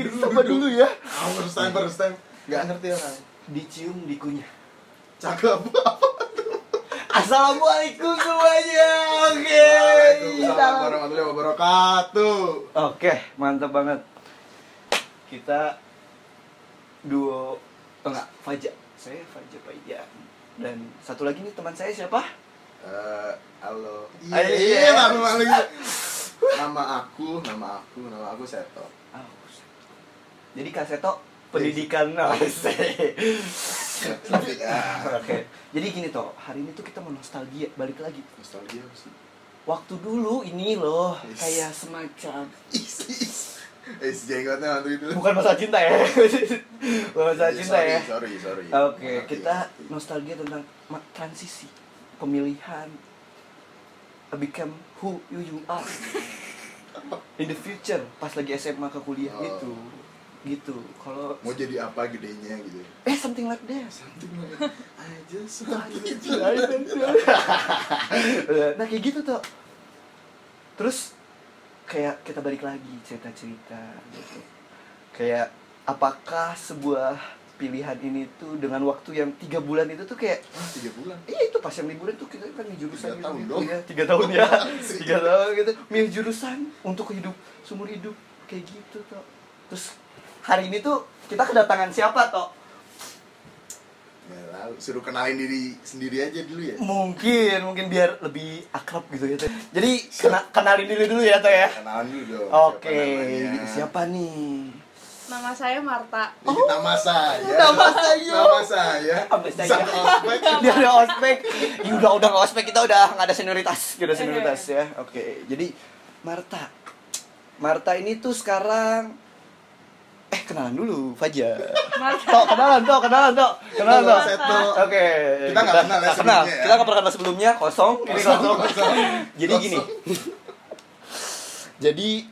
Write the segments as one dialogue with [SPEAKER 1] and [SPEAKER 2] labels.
[SPEAKER 1] Eh, ya.
[SPEAKER 2] first time first time nggak ngerti orang
[SPEAKER 1] dicium dikunyah
[SPEAKER 2] cakep
[SPEAKER 1] assalamualaikum semuanya oke
[SPEAKER 2] Waalaikumsalam warahmatullahi wabarakatuh
[SPEAKER 1] oke mantap banget kita duo oh enggak Faja saya Faja Faja dan satu lagi nih teman saya siapa
[SPEAKER 3] Eh, halo. Eh,
[SPEAKER 2] iya
[SPEAKER 1] Ayo,
[SPEAKER 2] iya
[SPEAKER 1] iya.
[SPEAKER 2] malu malu gitu
[SPEAKER 3] Nama aku, nama aku, nama aku Seto.
[SPEAKER 1] Ah, jadi Kak Seto pendidikan Oke.
[SPEAKER 3] Ya,
[SPEAKER 1] Jadi gini toh, hari ini tuh kita mau nostalgia balik lagi.
[SPEAKER 3] nostalgia apa sih.
[SPEAKER 1] Waktu dulu ini loh
[SPEAKER 3] Yes.
[SPEAKER 1] kayak semacam
[SPEAKER 3] Is, is. Eh, si jenggotnya mantu itu.
[SPEAKER 1] bukan masalah cinta ya. bukan masalah
[SPEAKER 3] Ya,
[SPEAKER 1] cinta
[SPEAKER 3] sorry,
[SPEAKER 1] ya.
[SPEAKER 3] Sorry, sorry.
[SPEAKER 1] Oke,
[SPEAKER 3] Maaf,
[SPEAKER 1] kita
[SPEAKER 3] ya.
[SPEAKER 1] nostalgia tentang ma- transisi pemilihan uh, become who you, you are in the future pas lagi SMA ke kuliah
[SPEAKER 3] Oh.
[SPEAKER 1] gitu gitu kalau
[SPEAKER 3] mau jadi apa gedenya gitu.
[SPEAKER 1] eh something like that
[SPEAKER 3] Something like I just want to
[SPEAKER 1] Iya, nah kayak gitu tuh terus kayak kita balik lagi cerita-cerita gitu kayak apakah sebuah pilihan ini tuh dengan waktu yang tiga bulan itu tuh kayak
[SPEAKER 3] Ah, tiga bulan.
[SPEAKER 1] iya itu pas yang liburan tuh kita kan di jurusan
[SPEAKER 3] Tiga tahun
[SPEAKER 1] gitu
[SPEAKER 3] dong.
[SPEAKER 1] ya tiga tahun ya tiga tahun gitu milih jurusan untuk hidup seumur hidup kayak gitu tuh terus hari ini tuh kita kedatangan siapa toh
[SPEAKER 3] Ya, lalu suruh kenalin diri sendiri aja dulu ya.
[SPEAKER 1] mungkin mungkin biar lebih akrab gitu ya Teh. jadi kena, kenalin diri dulu ya toh ya
[SPEAKER 3] Kenalan dulu dong.
[SPEAKER 1] oke
[SPEAKER 3] namanya.
[SPEAKER 1] siapa nih
[SPEAKER 4] Nama saya Marta.
[SPEAKER 3] Ini nama saya.
[SPEAKER 1] Nama saya.
[SPEAKER 3] Nama saya.
[SPEAKER 1] Apa saya?
[SPEAKER 3] Sang Ospek.
[SPEAKER 1] dia ada ospek ya udah udah nggak ospek kita udah nggak ada senioritas kita udah senioritas ya oke jadi Marta Marta ini tuh sekarang eh kenalan dulu Fajar
[SPEAKER 4] Marta.
[SPEAKER 1] Tok, kenalan, tok, kenalan, tok, kenalan, tok.
[SPEAKER 3] Seto.
[SPEAKER 1] Oke,
[SPEAKER 3] Kita nggak kenal ya
[SPEAKER 1] nggak kenal.
[SPEAKER 3] sebelumnya ya.
[SPEAKER 1] Kita nggak pernah kenal sebelumnya, kosong, ini kosong. Jadi gini. Jadi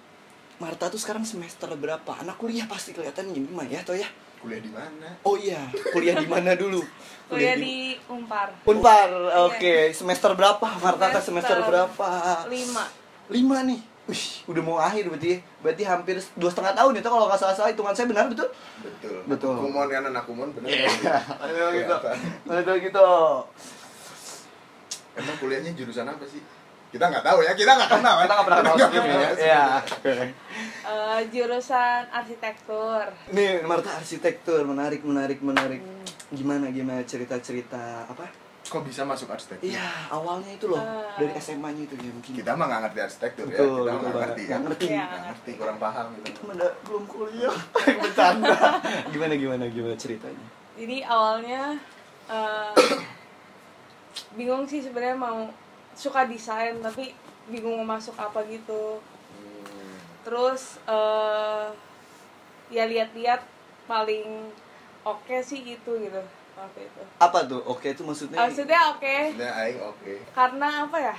[SPEAKER 1] Marta tuh sekarang semester berapa? Anak kuliah pasti kelihatan gini mah ya, toh ya.
[SPEAKER 3] Kuliah di mana?
[SPEAKER 1] Oh iya, kuliah di mana dulu?
[SPEAKER 4] Kuliah di Unpar.
[SPEAKER 1] Unpar.
[SPEAKER 4] Iya.
[SPEAKER 1] Oke, semester berapa? Marta kan semester
[SPEAKER 4] Semester
[SPEAKER 1] berapa?
[SPEAKER 4] Lima.
[SPEAKER 1] Lima nih. Wih, udah mau akhir berarti ya. Berarti hampir dua setengah tahun itu kalau nggak salah-salah hitungan saya benar betul?
[SPEAKER 3] Betul.
[SPEAKER 1] Betul. Iya.
[SPEAKER 3] Kumon kanan aku kumon benar. Iya,
[SPEAKER 1] Betul gitu.
[SPEAKER 3] Kelihatan.
[SPEAKER 1] Betul gitu.
[SPEAKER 3] Emang kuliahnya jurusan apa sih? Kita nggak tahu ya, kita nggak kenal.
[SPEAKER 1] Kita nggak pernah kenal sebelumnya ya. Iya.
[SPEAKER 4] Eh, jurusan arsitektur.
[SPEAKER 1] Nih, Marta arsitektur menarik, menarik, menarik. Gimana, gimana cerita-cerita apa?
[SPEAKER 3] Kok bisa masuk arsitektur?
[SPEAKER 1] Iya, awalnya itu loh
[SPEAKER 4] Ah.
[SPEAKER 1] dari SMA-nya itu ya mungkin.
[SPEAKER 3] Kita mah nggak ngerti arsitektur ya,
[SPEAKER 1] Betul,
[SPEAKER 3] kita mah
[SPEAKER 1] betul
[SPEAKER 3] nggak
[SPEAKER 1] banget.
[SPEAKER 3] ngerti ya.
[SPEAKER 1] Nggak ngerti.
[SPEAKER 4] Iya.
[SPEAKER 3] Nggak ngerti, kurang paham gitu.
[SPEAKER 1] Kita menda- belum kuliah, bercanda. gimana, gimana, gimana ceritanya?
[SPEAKER 4] Jadi awalnya eh, bingung sih sebenarnya mau suka desain tapi bingung mau masuk apa gitu.
[SPEAKER 3] Hmm.
[SPEAKER 4] Terus eh, ya lihat-lihat paling oke sih itu gitu waktu itu.
[SPEAKER 1] Apa tuh? Oke, itu maksudnya?
[SPEAKER 4] Maksudnya oke
[SPEAKER 3] Sebenarnya aing oke.
[SPEAKER 4] karena apa ya?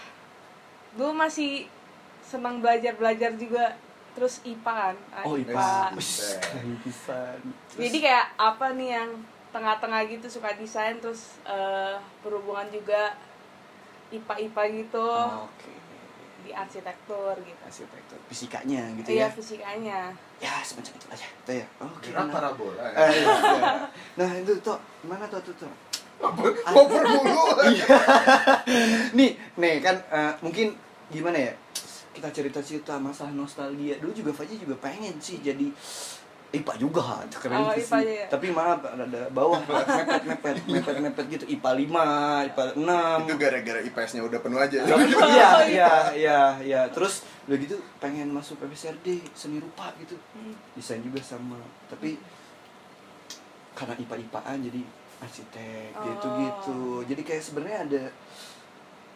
[SPEAKER 4] Dulu masih senang belajar-belajar juga terus IPA kan. Ah,
[SPEAKER 1] Oh, IPA.
[SPEAKER 3] IPA.
[SPEAKER 1] Wih, keren pisan. Terus-
[SPEAKER 4] Jadi kayak apa nih yang tengah-tengah gitu suka desain terus eh, berhubungan juga IPA-IPA gitu
[SPEAKER 1] Oke.
[SPEAKER 4] di arsitektur gitu.
[SPEAKER 1] Arsitektur. Fisikanya gitu
[SPEAKER 4] Iya
[SPEAKER 1] ya?
[SPEAKER 4] fisikanya.
[SPEAKER 1] Ya, semacam itu aja. Itu ya. Oke.
[SPEAKER 3] Kira
[SPEAKER 1] nah.
[SPEAKER 3] parabola ya.
[SPEAKER 1] Eh, iya, iya. Nah, itu tuh. Mana tuh, tuh, tuh?
[SPEAKER 3] Koper mulu.
[SPEAKER 1] nih nih kan eh, mungkin gimana ya kita cerita cerita masalah nostalgia dulu juga Fajar juga pengen sih jadi IPA juga keren
[SPEAKER 4] Oh,
[SPEAKER 1] sih.
[SPEAKER 4] IPA aja ya?
[SPEAKER 1] tapi maaf ada, ada bawah mepet mepet mepet mepet gitu IPA 5, IPA
[SPEAKER 3] Itu gara-gara IPS-nya udah penuh aja.
[SPEAKER 4] Oh,
[SPEAKER 1] 6 iya iya iya iya terus udah gitu pengen masuk PPSRD seni rupa gitu
[SPEAKER 4] Hmm.
[SPEAKER 1] desain juga sama tapi karena IPA IPAan jadi arsitek
[SPEAKER 4] Oh.
[SPEAKER 1] gitu gitu jadi kayak sebenarnya ada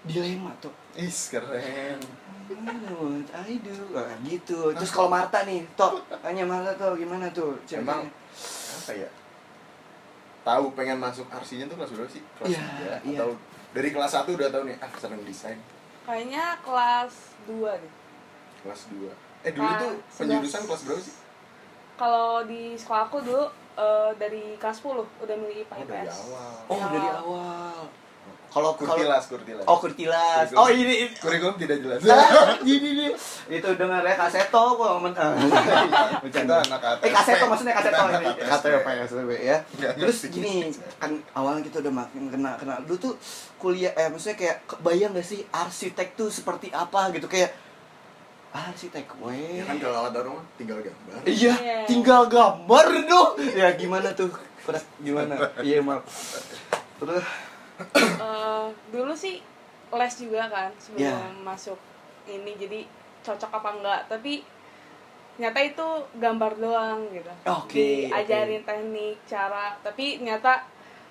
[SPEAKER 1] dilema tuh
[SPEAKER 3] Is keren.
[SPEAKER 1] What I do Wah, gitu. Terus kalau Marta nih, Tok, tanya Marta tuh gimana tuh?
[SPEAKER 3] Emang apa ya? Tahu pengen masuk arsinya tuh kelas berapa sih? Kelas
[SPEAKER 1] Iya,
[SPEAKER 3] tiga
[SPEAKER 1] iya.
[SPEAKER 3] atau dari kelas 1 udah tahu nih ah seneng desain.
[SPEAKER 4] Kayaknya kelas 2 deh.
[SPEAKER 3] kelas 2 eh dulu
[SPEAKER 4] Kelas
[SPEAKER 3] tuh penjurusan
[SPEAKER 4] 11.
[SPEAKER 3] kelas berapa sih
[SPEAKER 4] Kalau di sekolah aku dulu eh, dari kelas 10 udah milih IPA
[SPEAKER 3] Oh, dari
[SPEAKER 4] IPS.
[SPEAKER 3] awal.
[SPEAKER 1] oh dari awal. Kalau kalau
[SPEAKER 3] kurtilas kurtilas
[SPEAKER 1] oh kurtilas.
[SPEAKER 3] Kurikulum.
[SPEAKER 1] Oh ini, ini.
[SPEAKER 3] kurikulum tidak jelas
[SPEAKER 1] Ah, ini nih. Itu dengar ya kaseto kok men. ah.
[SPEAKER 3] kita
[SPEAKER 1] Bercanda.
[SPEAKER 3] anak KTP
[SPEAKER 1] Eh kaseto maksudnya kaseto ini.
[SPEAKER 3] KTP
[SPEAKER 1] SBB ya.
[SPEAKER 3] Nggak
[SPEAKER 1] Terus
[SPEAKER 3] ngerti.
[SPEAKER 1] gini, kan awalnya kita udah makin kena kena lu tuh kuliah eh maksudnya kayak kebayang gak sih arsitek tuh seperti apa gitu kayak "Ah, arsitek
[SPEAKER 3] ya
[SPEAKER 1] weh.
[SPEAKER 3] kan kalau alat dorong mah tinggal gambar
[SPEAKER 1] Iya,
[SPEAKER 4] Iya.
[SPEAKER 1] tinggal gambar dong. Ya gimana tuh? Kurang gimana? Iya, Mal. Terus
[SPEAKER 4] Eh, dulu sih les juga kan sebelum
[SPEAKER 1] Yeah.
[SPEAKER 4] masuk ini jadi cocok apa enggak tapi nyata itu gambar doang gitu
[SPEAKER 1] Oke,
[SPEAKER 4] diajarin teknik cara tapi nyata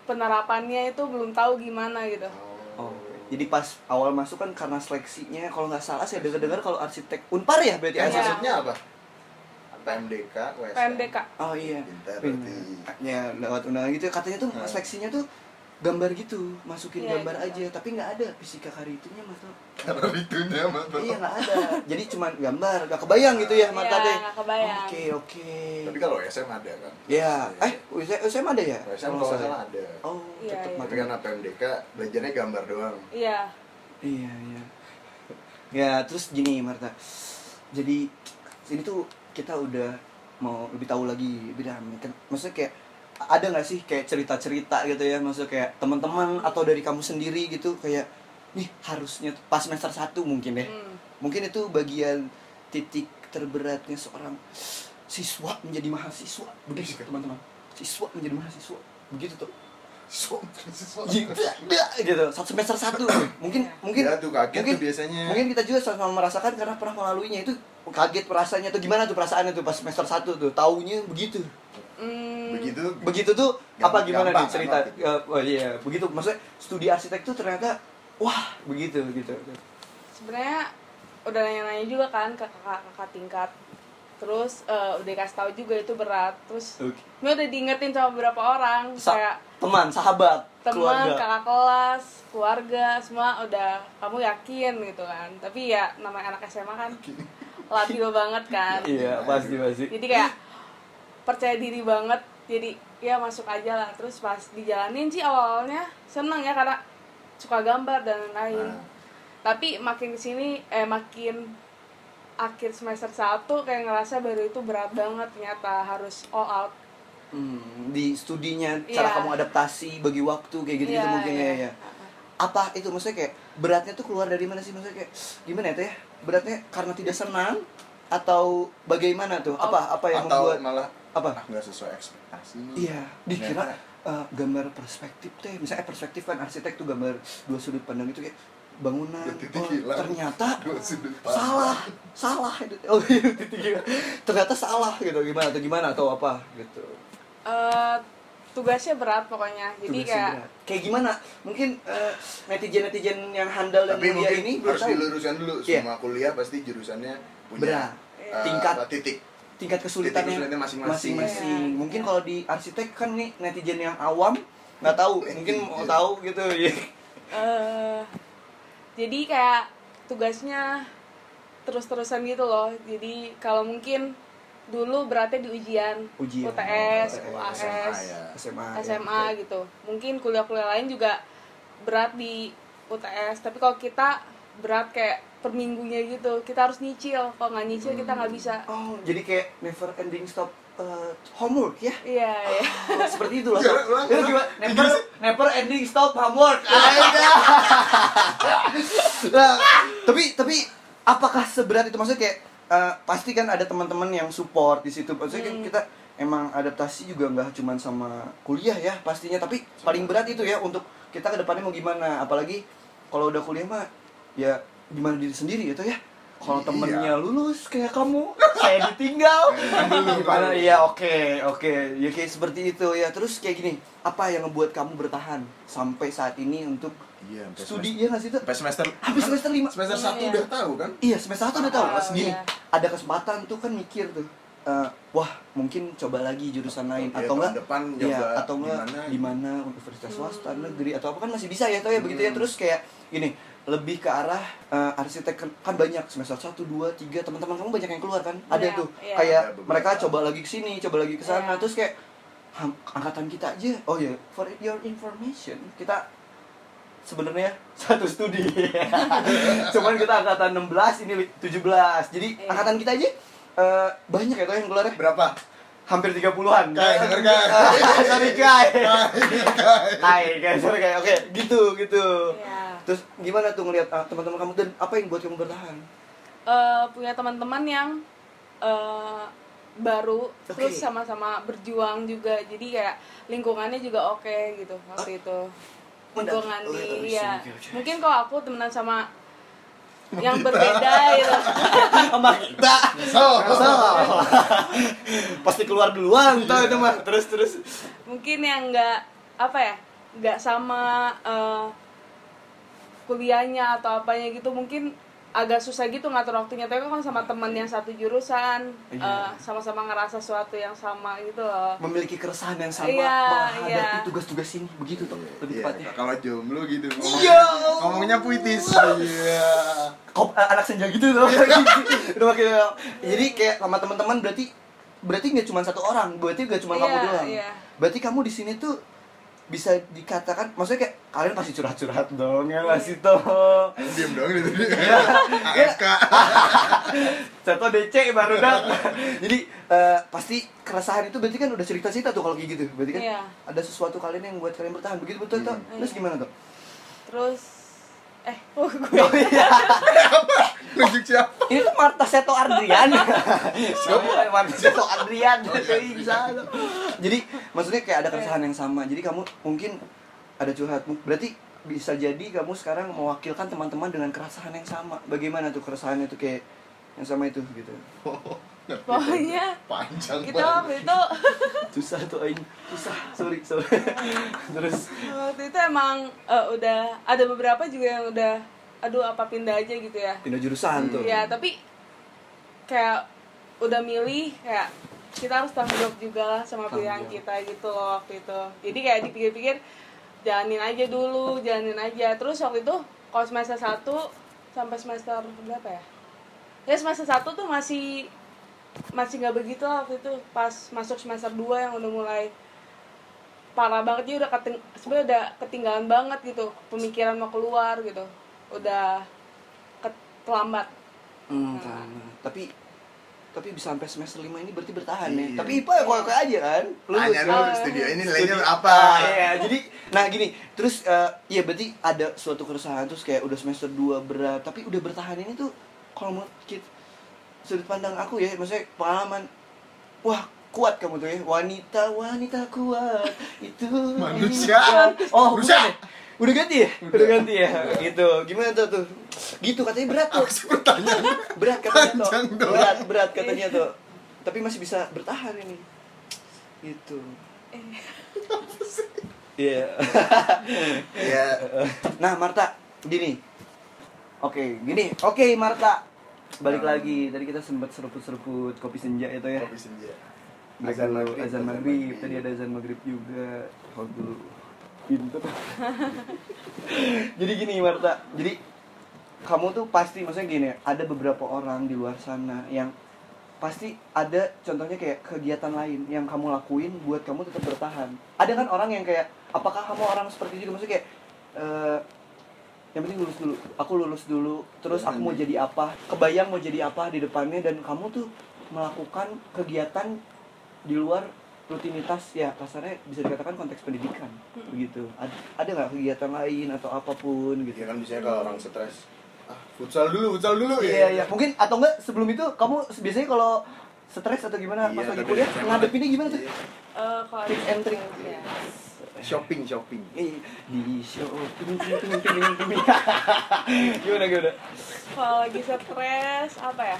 [SPEAKER 4] penerapannya itu belum tahu gimana gitu
[SPEAKER 1] oh, jadi pas awal masuk kan karena seleksinya kalau nggak salah saya dengar-dengar kalau arsitek Unpar ya berarti
[SPEAKER 3] yang
[SPEAKER 1] ya.
[SPEAKER 4] Iya.
[SPEAKER 3] masuknya apa PMDK WSM
[SPEAKER 4] PMDK
[SPEAKER 1] Oh iya.
[SPEAKER 3] Pintar berarti.
[SPEAKER 1] Ya lewat undangan gitu katanya tuh
[SPEAKER 3] Hmm.
[SPEAKER 1] seleksinya tuh gambar gitu, masukin
[SPEAKER 4] Iya,
[SPEAKER 1] gambar
[SPEAKER 4] iya.
[SPEAKER 1] aja, tapi nggak ada fisika karitunya mas Tol.
[SPEAKER 3] karena itunya mah Bro.
[SPEAKER 1] Iya nggak ada. Jadi cuman gambar, nggak kebayang gitu ya mata
[SPEAKER 4] Iya,
[SPEAKER 1] deh.
[SPEAKER 4] nggak kebayang.
[SPEAKER 1] Oke oke.
[SPEAKER 3] tapi kalau SM ada kan
[SPEAKER 1] Ya, eh USM, USM ada ya?
[SPEAKER 3] SM kalau nggak salah ada
[SPEAKER 1] Oh,
[SPEAKER 4] Iya,
[SPEAKER 1] tetap makin
[SPEAKER 4] iya.
[SPEAKER 3] tapi karena PMDK belajarnya gambar doang
[SPEAKER 4] iya
[SPEAKER 1] Iya iya. Ya terus gini Marta. Jadi ini tuh kita udah mau lebih tahu lagi lebih dalam. Kan- Maksudnya kayak ada nggak sih kayak cerita-cerita gitu ya? Maksudnya kayak teman-teman atau dari kamu sendiri gitu kayak nih harusnya tuh pas semester 1 mungkin deh.
[SPEAKER 4] Hmm.
[SPEAKER 1] Mungkin itu bagian titik terberatnya seorang siswa menjadi mahasiswa. Begitu
[SPEAKER 4] Iya.
[SPEAKER 1] teman-teman. Siswa menjadi mahasiswa. Begitu tuh.
[SPEAKER 3] Siswa, siswa.
[SPEAKER 1] Gitu, gitu. Satu semester satu. mungkin mungkin
[SPEAKER 3] Ya, tuh kaget
[SPEAKER 1] mungkin-
[SPEAKER 3] tuh biasanya.
[SPEAKER 1] Mungkin kita juga sama-sama merasakan karena pernah melaluinya itu kaget perasaannya tuh gimana tuh perasaannya tuh pas semester satu tuh tahunya begitu.
[SPEAKER 4] Hmm.
[SPEAKER 3] begitu
[SPEAKER 1] Begitu tuh
[SPEAKER 3] Gampang-
[SPEAKER 1] apa gimana
[SPEAKER 3] gampang,
[SPEAKER 1] nih cerita?
[SPEAKER 3] gampang.
[SPEAKER 1] Eh, oh iya, begitu maksudnya studi arsitek tuh ternyata wah, begitu gitu.
[SPEAKER 4] sebenarnya udah nanya-nanya juga kan ke kakak-kakak tingkat terus eh, udah dikasih tahu juga itu berat terus
[SPEAKER 1] Oke.
[SPEAKER 4] ini udah diingetin sama beberapa orang
[SPEAKER 1] Sa-
[SPEAKER 4] kayak
[SPEAKER 1] teman, sahabat,
[SPEAKER 4] teman
[SPEAKER 1] keluarga.
[SPEAKER 4] kakak kelas keluarga semua udah kamu yakin gitu kan tapi ya namanya anak SMA kan labil banget kan
[SPEAKER 1] Iya, pasti pasti.
[SPEAKER 4] jadi kayak percaya diri banget jadi ya masuk aja lah terus pas dijalanin sih awalnya seneng ya karena suka gambar dan lain-lain
[SPEAKER 3] Nah.
[SPEAKER 4] tapi makin kesini eh makin akhir semester 1 kayak ngerasa baru itu berat banget ternyata harus all out
[SPEAKER 1] Hmm, di studinya cara
[SPEAKER 4] Iya.
[SPEAKER 1] kamu adaptasi bagi waktu kayak gitu gitu
[SPEAKER 4] Iya,
[SPEAKER 1] mungkin ya,
[SPEAKER 4] iya.
[SPEAKER 1] ya. apa itu maksudnya kayak beratnya tuh keluar dari mana sih maksudnya kayak gimana ya Teh ya beratnya karena tidak senang atau bagaimana tuh apa apa
[SPEAKER 3] Oh.
[SPEAKER 1] yang
[SPEAKER 3] atau
[SPEAKER 1] membuat
[SPEAKER 3] malah
[SPEAKER 1] apa
[SPEAKER 3] ah nggak sesuai ekspektasi nih
[SPEAKER 1] iya dikira
[SPEAKER 3] Ternyata.
[SPEAKER 1] eh, gambar perspektif teh misalnya perspektif kan arsitek tuh gambar dua sudut pandang itu kayak bangunan
[SPEAKER 3] Dua titik
[SPEAKER 1] oh,
[SPEAKER 3] hilang.
[SPEAKER 1] ternyata
[SPEAKER 3] Dua sudut pandang.
[SPEAKER 1] salah salah oh iya, titik hilang. ternyata salah gitu gimana atau gimana atau apa gitu
[SPEAKER 4] Eh, tugasnya berat pokoknya jadi
[SPEAKER 1] Tugasnya
[SPEAKER 4] kayak
[SPEAKER 1] berat. kayak gimana mungkin netizen netizen yang handal dan
[SPEAKER 3] tapi
[SPEAKER 1] mulia
[SPEAKER 3] mungkin
[SPEAKER 1] ini belum
[SPEAKER 3] harus
[SPEAKER 1] tahu
[SPEAKER 3] diluruskan dulu
[SPEAKER 1] Iya.
[SPEAKER 3] semua kuliah pasti jurusannya
[SPEAKER 1] Berat.
[SPEAKER 3] punya eh,
[SPEAKER 1] Tingkat.
[SPEAKER 3] apa, titik
[SPEAKER 1] tingkat kesulitannya
[SPEAKER 3] Titik kesulitannya masing-masing.
[SPEAKER 1] masing-masing.
[SPEAKER 4] Iya.
[SPEAKER 1] Mungkin kalau di arsitek kan nih netizen yang awam nggak tahu, mungkin mau tahu gitu. Iya.
[SPEAKER 4] eh jadi kayak tugasnya terus-terusan gitu loh jadi kalau mungkin dulu beratnya di ujian,
[SPEAKER 1] Ujian.
[SPEAKER 4] UTS,
[SPEAKER 1] Oh,
[SPEAKER 4] UAS,
[SPEAKER 3] SMA ya
[SPEAKER 1] SMA. ya.
[SPEAKER 4] SMA gitu mungkin kuliah-kuliah lain juga berat di UTS tapi kalau kita berat kayak per minggunya gitu kita harus nyicil kalau nggak nyicil kita nggak bisa
[SPEAKER 1] Oh, jadi kayak never ending stop eh, homework ya.
[SPEAKER 4] iya iya
[SPEAKER 1] Oh, seperti itulah.
[SPEAKER 3] Iya, iya. ulang,
[SPEAKER 1] Itu gimana? Never never ending stop homework. Aida. Nah, tapi tapi apakah seberat itu maksudnya kayak eh, pasti kan ada teman-teman yang support di situ. Maksudnya kan kita emang adaptasi juga nggak cuman sama kuliah ya pastinya, tapi paling berat itu ya untuk kita ke depannya mau gimana. Apalagi kalau udah kuliah mah ya gimana diri sendiri gitu ya. Kalau
[SPEAKER 3] Iya.
[SPEAKER 1] temennya lulus kayak kamu, saya ditinggal. Gimana? Kan Iya, oke, oke. Ya kayak seperti itu ya. Terus kayak gini, apa yang ngebuat kamu bertahan sampai saat ini untuk
[SPEAKER 3] iya sampai
[SPEAKER 1] studi
[SPEAKER 3] semester-
[SPEAKER 1] ya nggak sih tuh?
[SPEAKER 3] sampai semester
[SPEAKER 1] Habis semester 5.
[SPEAKER 3] semester
[SPEAKER 4] Iya,
[SPEAKER 3] satu
[SPEAKER 4] iya.
[SPEAKER 3] udah tahu kan
[SPEAKER 1] Iya, semester satu udah tahu.
[SPEAKER 4] Awal,
[SPEAKER 1] Pas gini,
[SPEAKER 4] iya.
[SPEAKER 1] ada kesempatan tuh kan mikir tuh. eh, wah, mungkin coba lagi jurusan lain
[SPEAKER 3] Iya,
[SPEAKER 1] atau
[SPEAKER 3] tahun
[SPEAKER 1] enggak?
[SPEAKER 3] depan gitu.
[SPEAKER 1] iya,
[SPEAKER 3] nyoba
[SPEAKER 1] atau enggak
[SPEAKER 3] di mana,
[SPEAKER 1] di mana universitas swasta, negeri atau apa kan masih bisa ya tuh ya begitu ya.
[SPEAKER 3] Hmm.
[SPEAKER 1] Terus kayak gini, lebih ke arah eh, arsitek kan- kan banyak semester 1 2 3 teman-teman kamu banyak yang keluar kan? Ada
[SPEAKER 4] Iya,
[SPEAKER 1] tuh
[SPEAKER 4] iya.
[SPEAKER 1] kayak
[SPEAKER 3] Ada beberapa.
[SPEAKER 1] mereka coba lagi ke sini, coba lagi ke sana
[SPEAKER 4] Iya.
[SPEAKER 1] terus iya. kayak "Ham, angkatan kita aja. Oh ya, for your information, kita sebenarnya satu studi. Cuman kita angkatan 16 ini 17. Jadi
[SPEAKER 4] Iya.
[SPEAKER 1] angkatan kita aja eh, banyak ya tuh yang keluarnya
[SPEAKER 2] Berapa?
[SPEAKER 1] hampir 30-an.
[SPEAKER 2] Kai, denger Kai.
[SPEAKER 1] Sorry guys. Hai guys, sorry guys. Oke, gitu gitu.
[SPEAKER 4] Iya.
[SPEAKER 1] Terus gimana tuh ngelihat ah, teman-teman kamu dan apa yang buat kamu bertahan?
[SPEAKER 4] Eh, punya teman-teman yang eh, baru
[SPEAKER 1] Oke.
[SPEAKER 4] terus sama-sama berjuang juga jadi kayak lingkungannya juga oke gitu waktu itu lingkungan
[SPEAKER 1] Mendadak- Ah. oh,
[SPEAKER 4] di
[SPEAKER 1] iya,
[SPEAKER 4] ya
[SPEAKER 1] iya, iya.
[SPEAKER 4] mungkin kalau aku temenan sama yang berbeda gitu
[SPEAKER 1] Sama kita.
[SPEAKER 2] So,
[SPEAKER 1] Salah. Pasti keluar duluan tuh itu mah. Terus terus.
[SPEAKER 4] mungkin yang nggak apa ya nggak sama eh, kuliahnya atau apanya gitu mungkin agak susah gitu ngatur waktunya tapi kan sama teman yang satu jurusan
[SPEAKER 1] Iya.
[SPEAKER 4] eh, sama-sama ngerasa sesuatu yang sama gitu loh
[SPEAKER 1] memiliki keresahan yang sama
[SPEAKER 4] Iya,
[SPEAKER 1] menghadapi
[SPEAKER 4] iya.
[SPEAKER 1] tugas-tugas ini begitu tuh lebih tepatnya
[SPEAKER 3] Iya, Kalau jomblo gitu. ngomong-
[SPEAKER 1] Iya.
[SPEAKER 3] Ngomongnya puitis.
[SPEAKER 2] Iya.
[SPEAKER 1] Kop- eh, anak senja gitu tuh Itu makin- jadi kayak sama teman-teman berarti berarti nggak cuma satu orang berarti nggak cuma kamu
[SPEAKER 4] Iya,
[SPEAKER 1] doang
[SPEAKER 4] iya.
[SPEAKER 1] berarti kamu di sini tuh bisa dikatakan maksudnya kayak kalian pasti curhat-curhat dong ya nggak sih toh Ya,
[SPEAKER 3] Diam dong gitu.
[SPEAKER 1] Iya.
[SPEAKER 2] AFK.
[SPEAKER 1] satu DC baru datang jadi eh, pasti keresahan itu berarti kan udah cerita-cerita tuh kalau kayak gitu berarti kan
[SPEAKER 4] Iya.
[SPEAKER 1] ada sesuatu kalian yang buat kalian bertahan begitu betul toh
[SPEAKER 4] Hmm.
[SPEAKER 1] terus gimana toh
[SPEAKER 4] terus eh oh, gue
[SPEAKER 1] Oh, iya.
[SPEAKER 3] Tunjuk siapa?
[SPEAKER 1] Ini tuh Marta Seto Adrian. Siapa Marta Seto Adrian? Jadi maksudnya kayak ada keresahan yang sama. Jadi kamu mungkin ada curhatmu. Berarti bisa jadi kamu sekarang mewakilkan teman-teman dengan keresahan yang sama. Bagaimana tuh keresahannya tuh kayak yang sama itu gitu.
[SPEAKER 4] pokoknya
[SPEAKER 3] Panjang
[SPEAKER 4] kita
[SPEAKER 3] banget.
[SPEAKER 4] waktu itu
[SPEAKER 1] Susah tuh aing. Susah. Sorry, sorry. Terus
[SPEAKER 4] waktu itu emang eh, udah ada beberapa juga yang udah aduh apa pindah aja gitu ya
[SPEAKER 1] pindah jurusan tuh.
[SPEAKER 4] ya tapi kayak udah milih kayak kita harus tanggung jawab juga lah sama
[SPEAKER 1] Tanggung
[SPEAKER 4] pilihan
[SPEAKER 1] jawab.
[SPEAKER 4] kita gitu loh waktu itu jadi kayak dipikir-pikir jalanin aja dulu jalanin aja terus waktu itu kalau semester 1 sampai semester berapa ya ya semester 1 tuh masih masih nggak begitu lah waktu itu pas masuk semester 2 yang udah mulai parah banget dia udah keting- sebenarnya udah ketinggalan banget gitu pemikiran mau keluar gitu udah ke- terlambat
[SPEAKER 1] Hmm, kan. Tapi tapi bisa sampai semester 5 ini berarti bertahan ya.
[SPEAKER 3] Iya.
[SPEAKER 1] Tapi IPA kok aja kan. Lulus
[SPEAKER 3] Tanya
[SPEAKER 1] kan?
[SPEAKER 3] dulu studio ini nilainya
[SPEAKER 1] Jadi-
[SPEAKER 3] apa?
[SPEAKER 1] Ah, iya, jadi nah gini, terus eh, ya berarti ada suatu keresahan terus kayak udah semester 2 berat, tapi udah bertahan ini tuh kalau menurut kit- sudut pandang aku ya, maksudnya pengalaman wah kuat kamu tuh ya wanita wanita kuat itu
[SPEAKER 3] Manusia.
[SPEAKER 1] wanita. oh
[SPEAKER 3] Manusia.
[SPEAKER 1] bukan ya? udah ganti ya udah,
[SPEAKER 3] Udah.
[SPEAKER 1] ganti ya gitu gimana tuh tuh gitu katanya berat tuh berat katanya tuh
[SPEAKER 3] Panjang doang.
[SPEAKER 1] berat berat katanya tuh tapi masih bisa bertahan ini gitu
[SPEAKER 3] Eh.
[SPEAKER 1] iya
[SPEAKER 3] Iya.
[SPEAKER 1] nah Marta gini oke gini oke Marta balik
[SPEAKER 3] Nah.
[SPEAKER 1] lagi tadi kita sempat seruput-seruput kopi senja itu ya
[SPEAKER 3] Kopi senja.
[SPEAKER 1] azan maghrib, azan maghrib. tadi ada azan maghrib juga hold dulu pintu jadi gini Marta jadi kamu tuh pasti maksudnya gini ada beberapa orang di luar sana yang pasti ada contohnya kayak kegiatan lain yang kamu lakuin buat kamu tetap bertahan ada kan orang yang kayak apakah kamu orang seperti itu juga maksudnya kayak eh, yang penting lulus dulu aku lulus dulu terus aku mau jadi apa kebayang mau jadi apa di depannya dan kamu tuh melakukan kegiatan di luar rutinitas ya kasarnya bisa dikatakan konteks pendidikan
[SPEAKER 4] Hmm.
[SPEAKER 1] begitu Ad- ada nggak kegiatan lain atau apapun
[SPEAKER 3] Iya
[SPEAKER 1] gitu
[SPEAKER 3] kan biasanya kalau orang stres. Ah, futsal dulu, futsal dulu.
[SPEAKER 1] iya iya mungkin atau enggak sebelum itu kamu biasanya kalau stres atau gimana
[SPEAKER 3] Iya,
[SPEAKER 1] pas lagi
[SPEAKER 3] tapi
[SPEAKER 1] kuliah
[SPEAKER 3] biasanya-
[SPEAKER 1] ngadepinnya gimana tuh
[SPEAKER 3] Iya.
[SPEAKER 4] Eh, kalau
[SPEAKER 1] Tips and trick.
[SPEAKER 4] Iya.
[SPEAKER 3] Shopping, shopping.
[SPEAKER 1] Eh, di show ting, ting, ting, ting, ting. gimana gimana
[SPEAKER 4] kalau lagi stres apa ya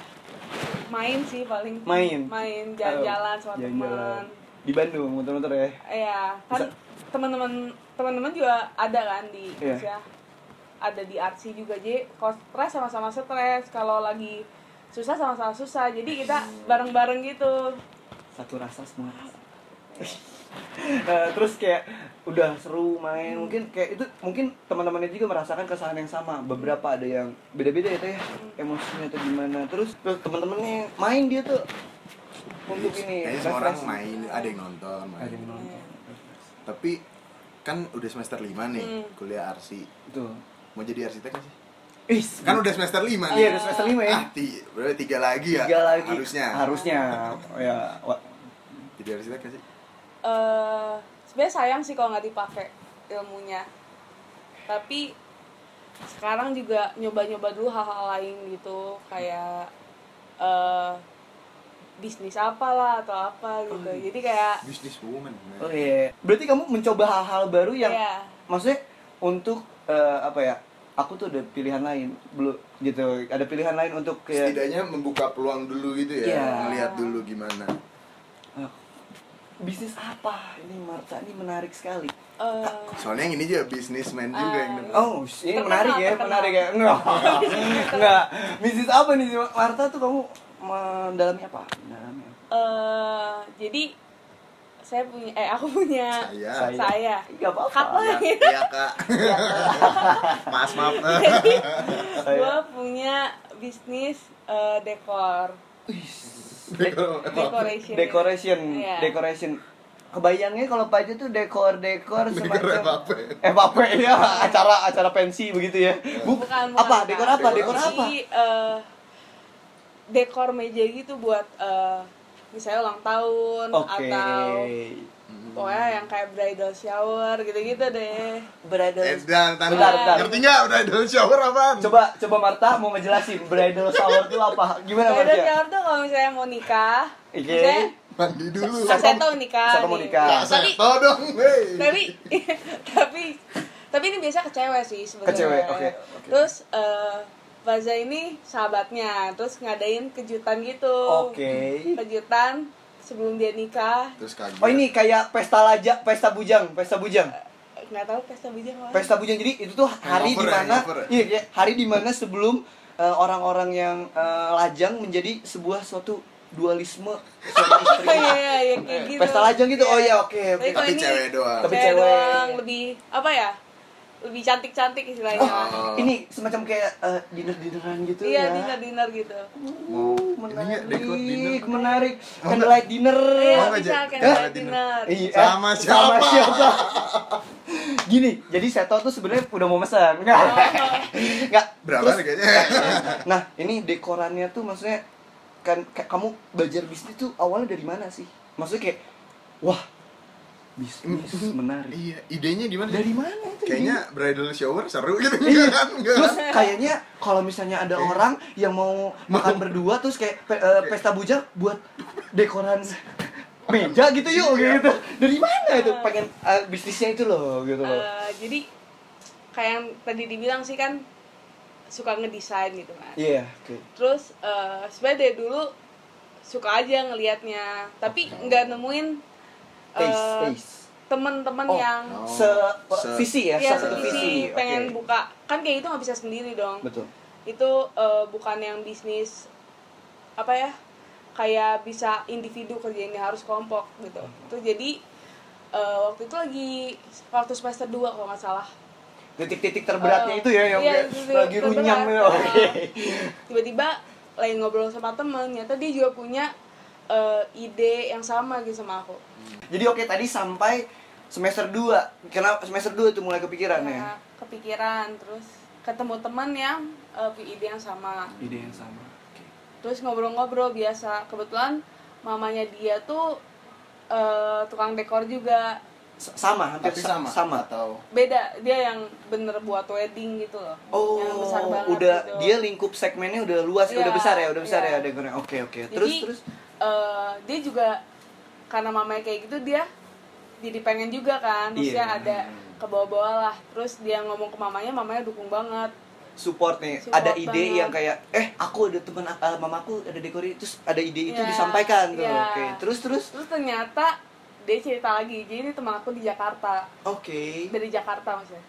[SPEAKER 4] main sih paling
[SPEAKER 1] Main? Iya,
[SPEAKER 4] main jalan-jalan sama teman
[SPEAKER 1] Jalan-jalan. di Bandung muter-muter ya
[SPEAKER 4] Iya, kan
[SPEAKER 1] Bisa.
[SPEAKER 4] teman-teman teman-teman juga ada kan di
[SPEAKER 1] Iya.
[SPEAKER 4] ya. Ada di arsi juga jadi kalau stres sama-sama stres, kalau lagi susah sama-sama susah. Jadi kita
[SPEAKER 1] Hmm.
[SPEAKER 4] bareng-bareng gitu.
[SPEAKER 1] satu rasa semua rasa. Eh, terus kayak udah seru main mungkin kayak itu mungkin teman-temannya juga merasakan keresahan yang sama beberapa ada yang beda-beda ya teh emosinya atau gimana terus terus teman-temannya main dia tuh untuk
[SPEAKER 3] Iya,
[SPEAKER 1] ini ya,
[SPEAKER 3] Kayaknya semua orang
[SPEAKER 1] refreshing.
[SPEAKER 3] main, ada yang nonton, main.
[SPEAKER 1] Ada yang nonton.
[SPEAKER 3] Tapi kan udah semester 5 nih
[SPEAKER 4] Hmm.
[SPEAKER 3] kuliah arsi
[SPEAKER 1] Tuh.
[SPEAKER 3] mau jadi arsitek nggak sih
[SPEAKER 1] Ih,
[SPEAKER 3] kan udah semester 5 nih
[SPEAKER 1] Iya, udah semester lima ya.
[SPEAKER 3] ah ti- berarti tiga lagi ya
[SPEAKER 1] Tiga lagi.
[SPEAKER 3] harusnya
[SPEAKER 1] Harusnya. Ya. wa-
[SPEAKER 3] jadi arsitek nggak kan sih
[SPEAKER 4] eh sebenarnya sayang sih kalau nggak dipakai ilmunya tapi sekarang juga nyoba-nyoba dulu hal-hal lain gitu kayak eh bisnis apalah atau apa gitu jadi kayak
[SPEAKER 3] bisnis woman
[SPEAKER 1] Oh iya. Berarti kamu mencoba hal-hal baru yang
[SPEAKER 4] Iya.
[SPEAKER 1] maksudnya untuk eh, apa ya? Aku tuh ada pilihan lain, belum gitu. Ada pilihan lain untuk kayak
[SPEAKER 3] setidaknya membuka peluang dulu gitu ya
[SPEAKER 1] Iya.
[SPEAKER 3] melihat dulu gimana
[SPEAKER 1] eh, bisnis apa? Ini Marta ini menarik sekali.
[SPEAKER 4] eh,
[SPEAKER 3] soalnya yang ini juga bisnismen juga yang denger.
[SPEAKER 1] Oh, ini
[SPEAKER 4] Terkenal,
[SPEAKER 1] menarik ya,
[SPEAKER 4] terkenal.
[SPEAKER 1] menarik ya. Enggak. Enggak. Bisnis apa nih si Marta tuh kamu mendalami apa? Mendalami apa?
[SPEAKER 4] eh, jadi saya punya eh aku punya
[SPEAKER 3] saya
[SPEAKER 1] Saya.
[SPEAKER 4] saya
[SPEAKER 1] Enggak apa-apa.
[SPEAKER 4] Apa?
[SPEAKER 3] Ya, iya kak maaf maaf
[SPEAKER 1] Iya.
[SPEAKER 4] gue punya bisnis eh, dekor decoration
[SPEAKER 1] decoration
[SPEAKER 4] Iya.
[SPEAKER 1] decoration kebayangnya kalau pajak tuh dekor dekor
[SPEAKER 3] Dekor
[SPEAKER 1] semacam
[SPEAKER 3] FAP.
[SPEAKER 1] FAP ya acara acara pensi begitu ya Bu,
[SPEAKER 4] bukan, bukan,
[SPEAKER 1] apa
[SPEAKER 4] bukan.
[SPEAKER 1] dekor apa dekor
[SPEAKER 4] Jadi,
[SPEAKER 1] apa
[SPEAKER 4] eh, dekor meja gitu buat eh, misalnya ulang tahun
[SPEAKER 1] oke
[SPEAKER 4] atau pokoknya yang kayak bridal shower gitu-gitu deh
[SPEAKER 1] bridal
[SPEAKER 3] Eh, dan tanda
[SPEAKER 1] Bentar, bentar.
[SPEAKER 3] ngerti nggak udah idol shower apaan
[SPEAKER 1] coba coba Marta mau ngejelasin bridal shower tuh apa gimana
[SPEAKER 4] bridal
[SPEAKER 1] Marta
[SPEAKER 4] shower tuh kalau misalnya mau nikah
[SPEAKER 1] Oke.
[SPEAKER 4] misalnya
[SPEAKER 3] mandi dulu
[SPEAKER 1] Sa-
[SPEAKER 4] saya tahu nikah
[SPEAKER 1] Iya. Satu mau
[SPEAKER 4] nih.
[SPEAKER 1] nikah.
[SPEAKER 4] Ya,
[SPEAKER 3] saya
[SPEAKER 4] tapi
[SPEAKER 3] tahu dong hei
[SPEAKER 4] tapi tapi tapi ini biasa ke cewek sih sebenarnya.
[SPEAKER 1] Ke cewek, oke, oke.
[SPEAKER 4] Terus eh Baza ini sahabatnya, terus ngadain kejutan gitu.
[SPEAKER 1] oke
[SPEAKER 4] Kejutan sebelum dia nikah,
[SPEAKER 3] terus kaget
[SPEAKER 1] oh ini kayak pesta lajak pesta bujang pesta bujang
[SPEAKER 4] nggak tahu pesta bijak apa.
[SPEAKER 1] pesta bujang jadi itu tuh hari
[SPEAKER 3] Hangover
[SPEAKER 1] di
[SPEAKER 3] ya,
[SPEAKER 1] mana
[SPEAKER 3] hangover ya.
[SPEAKER 1] iya iya, hari di mana sebelum eh, orang-orang yang eh, lajang menjadi sebuah suatu dualisme suami istri
[SPEAKER 4] Iya, iya, iya, kayak gitu. Iya.
[SPEAKER 1] pesta lajang gitu oh ya oke oke
[SPEAKER 4] Tapi kalau
[SPEAKER 3] tapi
[SPEAKER 4] ini-
[SPEAKER 3] cewek doang
[SPEAKER 1] Tapi
[SPEAKER 4] Tapi
[SPEAKER 1] cewek.
[SPEAKER 4] cewek, doang, lebih apa ya? Lebih cantik-cantik istilahnya.
[SPEAKER 3] Oh.
[SPEAKER 1] ini semacam kayak dinner dinneran gitu
[SPEAKER 4] Iya,
[SPEAKER 1] ya
[SPEAKER 4] dinner dinner gitu.
[SPEAKER 1] Uh,
[SPEAKER 3] Ini ya,
[SPEAKER 1] menarik
[SPEAKER 3] dekor dinner.
[SPEAKER 1] menarik candlelight dinner
[SPEAKER 4] Iya,
[SPEAKER 3] nggak,
[SPEAKER 4] bisa
[SPEAKER 3] Jen?
[SPEAKER 4] kayak
[SPEAKER 3] Jangan
[SPEAKER 4] dinner. dinner.
[SPEAKER 1] Eh, Iya.
[SPEAKER 3] Sama siapa?
[SPEAKER 1] siapa? Gini, jadi Seto tuh sebenarnya udah mau pesan. Enggak. Enggak.
[SPEAKER 3] berapa
[SPEAKER 1] Terus-
[SPEAKER 3] harganya
[SPEAKER 1] Nah, ini dekorannya tuh maksudnya kan ka- kamu belajar bisnis tuh awalnya dari mana sih? Maksudnya kayak wah, bisnis menarik.
[SPEAKER 3] iya idenya gimana
[SPEAKER 1] Dari mana itu?
[SPEAKER 3] kayaknya bridal shower seru gitu
[SPEAKER 1] Iya.
[SPEAKER 3] kan enggak
[SPEAKER 1] Terus kayaknya kalau misalnya ada
[SPEAKER 3] Kayak-
[SPEAKER 1] orang yang mau makan berdua terus kayak pe- eh, pesta bujang buat dekoran meja gitu yuk
[SPEAKER 3] Iya.
[SPEAKER 1] gitu. Dari mana itu pengen eh, bisnisnya itu loh gitu loh.
[SPEAKER 4] Eh, jadi kayak yang tadi dibilang sih kan suka ngedesain gitu kan.
[SPEAKER 1] Iya, oke.
[SPEAKER 4] Terus eh sebenarnya dari dulu suka aja ngelihatnya, tapi nggak nemuin eh,
[SPEAKER 1] Taste, taste.
[SPEAKER 4] temen-temen
[SPEAKER 1] Oh.
[SPEAKER 4] yang
[SPEAKER 3] Oh.
[SPEAKER 1] Se
[SPEAKER 3] Se-
[SPEAKER 1] visi ya,
[SPEAKER 4] ya
[SPEAKER 1] satu
[SPEAKER 4] sevisi,
[SPEAKER 1] visi. Oke.
[SPEAKER 4] pengen buka kan kayak itu nggak bisa sendiri dong.
[SPEAKER 1] Betul.
[SPEAKER 4] itu eh, bukan yang bisnis apa ya kayak bisa individu kerjainnya harus kelompok gitu
[SPEAKER 1] Hmm.
[SPEAKER 4] itu jadi eh, waktu itu lagi waktu semester 2 kalau nggak salah
[SPEAKER 1] titik-titik terberatnya
[SPEAKER 4] Eh,
[SPEAKER 1] itu ya yang kayak
[SPEAKER 4] iya, titik
[SPEAKER 1] lagi
[SPEAKER 4] terberat.
[SPEAKER 1] runyam gitu.
[SPEAKER 4] Eh,
[SPEAKER 1] Oke.
[SPEAKER 4] tiba-tiba lagi ngobrol sama temen ternyata dia juga punya eh, ide yang sama gitu sama aku
[SPEAKER 1] Jadi oke tadi sampai semester 2. Karena semester 2 itu mulai kepikiran
[SPEAKER 4] Ya,
[SPEAKER 1] ya.
[SPEAKER 4] kepikiran terus ketemu temen yang eh, punya ide yang sama
[SPEAKER 1] Ide yang sama. Oke.
[SPEAKER 4] terus ngobrol-ngobrol biasa kebetulan mamanya dia tuh eh, tukang dekor juga
[SPEAKER 1] S- Sama, hampir
[SPEAKER 3] tapi
[SPEAKER 1] sa-
[SPEAKER 3] sama
[SPEAKER 1] sama.
[SPEAKER 3] atau
[SPEAKER 4] beda dia yang bener buat wedding gitu loh
[SPEAKER 1] Oh,
[SPEAKER 4] yang besar banget
[SPEAKER 1] udah
[SPEAKER 4] gitu.
[SPEAKER 1] dia lingkup segmennya udah luas,
[SPEAKER 4] Iya,
[SPEAKER 1] udah besar ya, udah besar
[SPEAKER 4] iya.
[SPEAKER 1] ya dekornya. Oke, oke.
[SPEAKER 4] Jadi,
[SPEAKER 1] Terus terus
[SPEAKER 4] eh, dia juga karena mamanya kayak gitu dia jadi pengen juga kan maksudnya
[SPEAKER 1] Iya.
[SPEAKER 4] ada ke bawah-bawah lah terus dia ngomong ke mamanya mamanya dukung banget
[SPEAKER 1] support nih.
[SPEAKER 4] Support
[SPEAKER 1] ada ide
[SPEAKER 4] banget.
[SPEAKER 1] yang kayak eh aku ada teman eh, mamaku ada dekor ini, terus ada ide itu
[SPEAKER 4] Iya,
[SPEAKER 1] disampaikan tuh.
[SPEAKER 4] iya.
[SPEAKER 1] Oke. Terus terus
[SPEAKER 4] terus ternyata dia cerita lagi jadi ini teman aku di Jakarta
[SPEAKER 1] Oke.
[SPEAKER 4] dari Jakarta maksudnya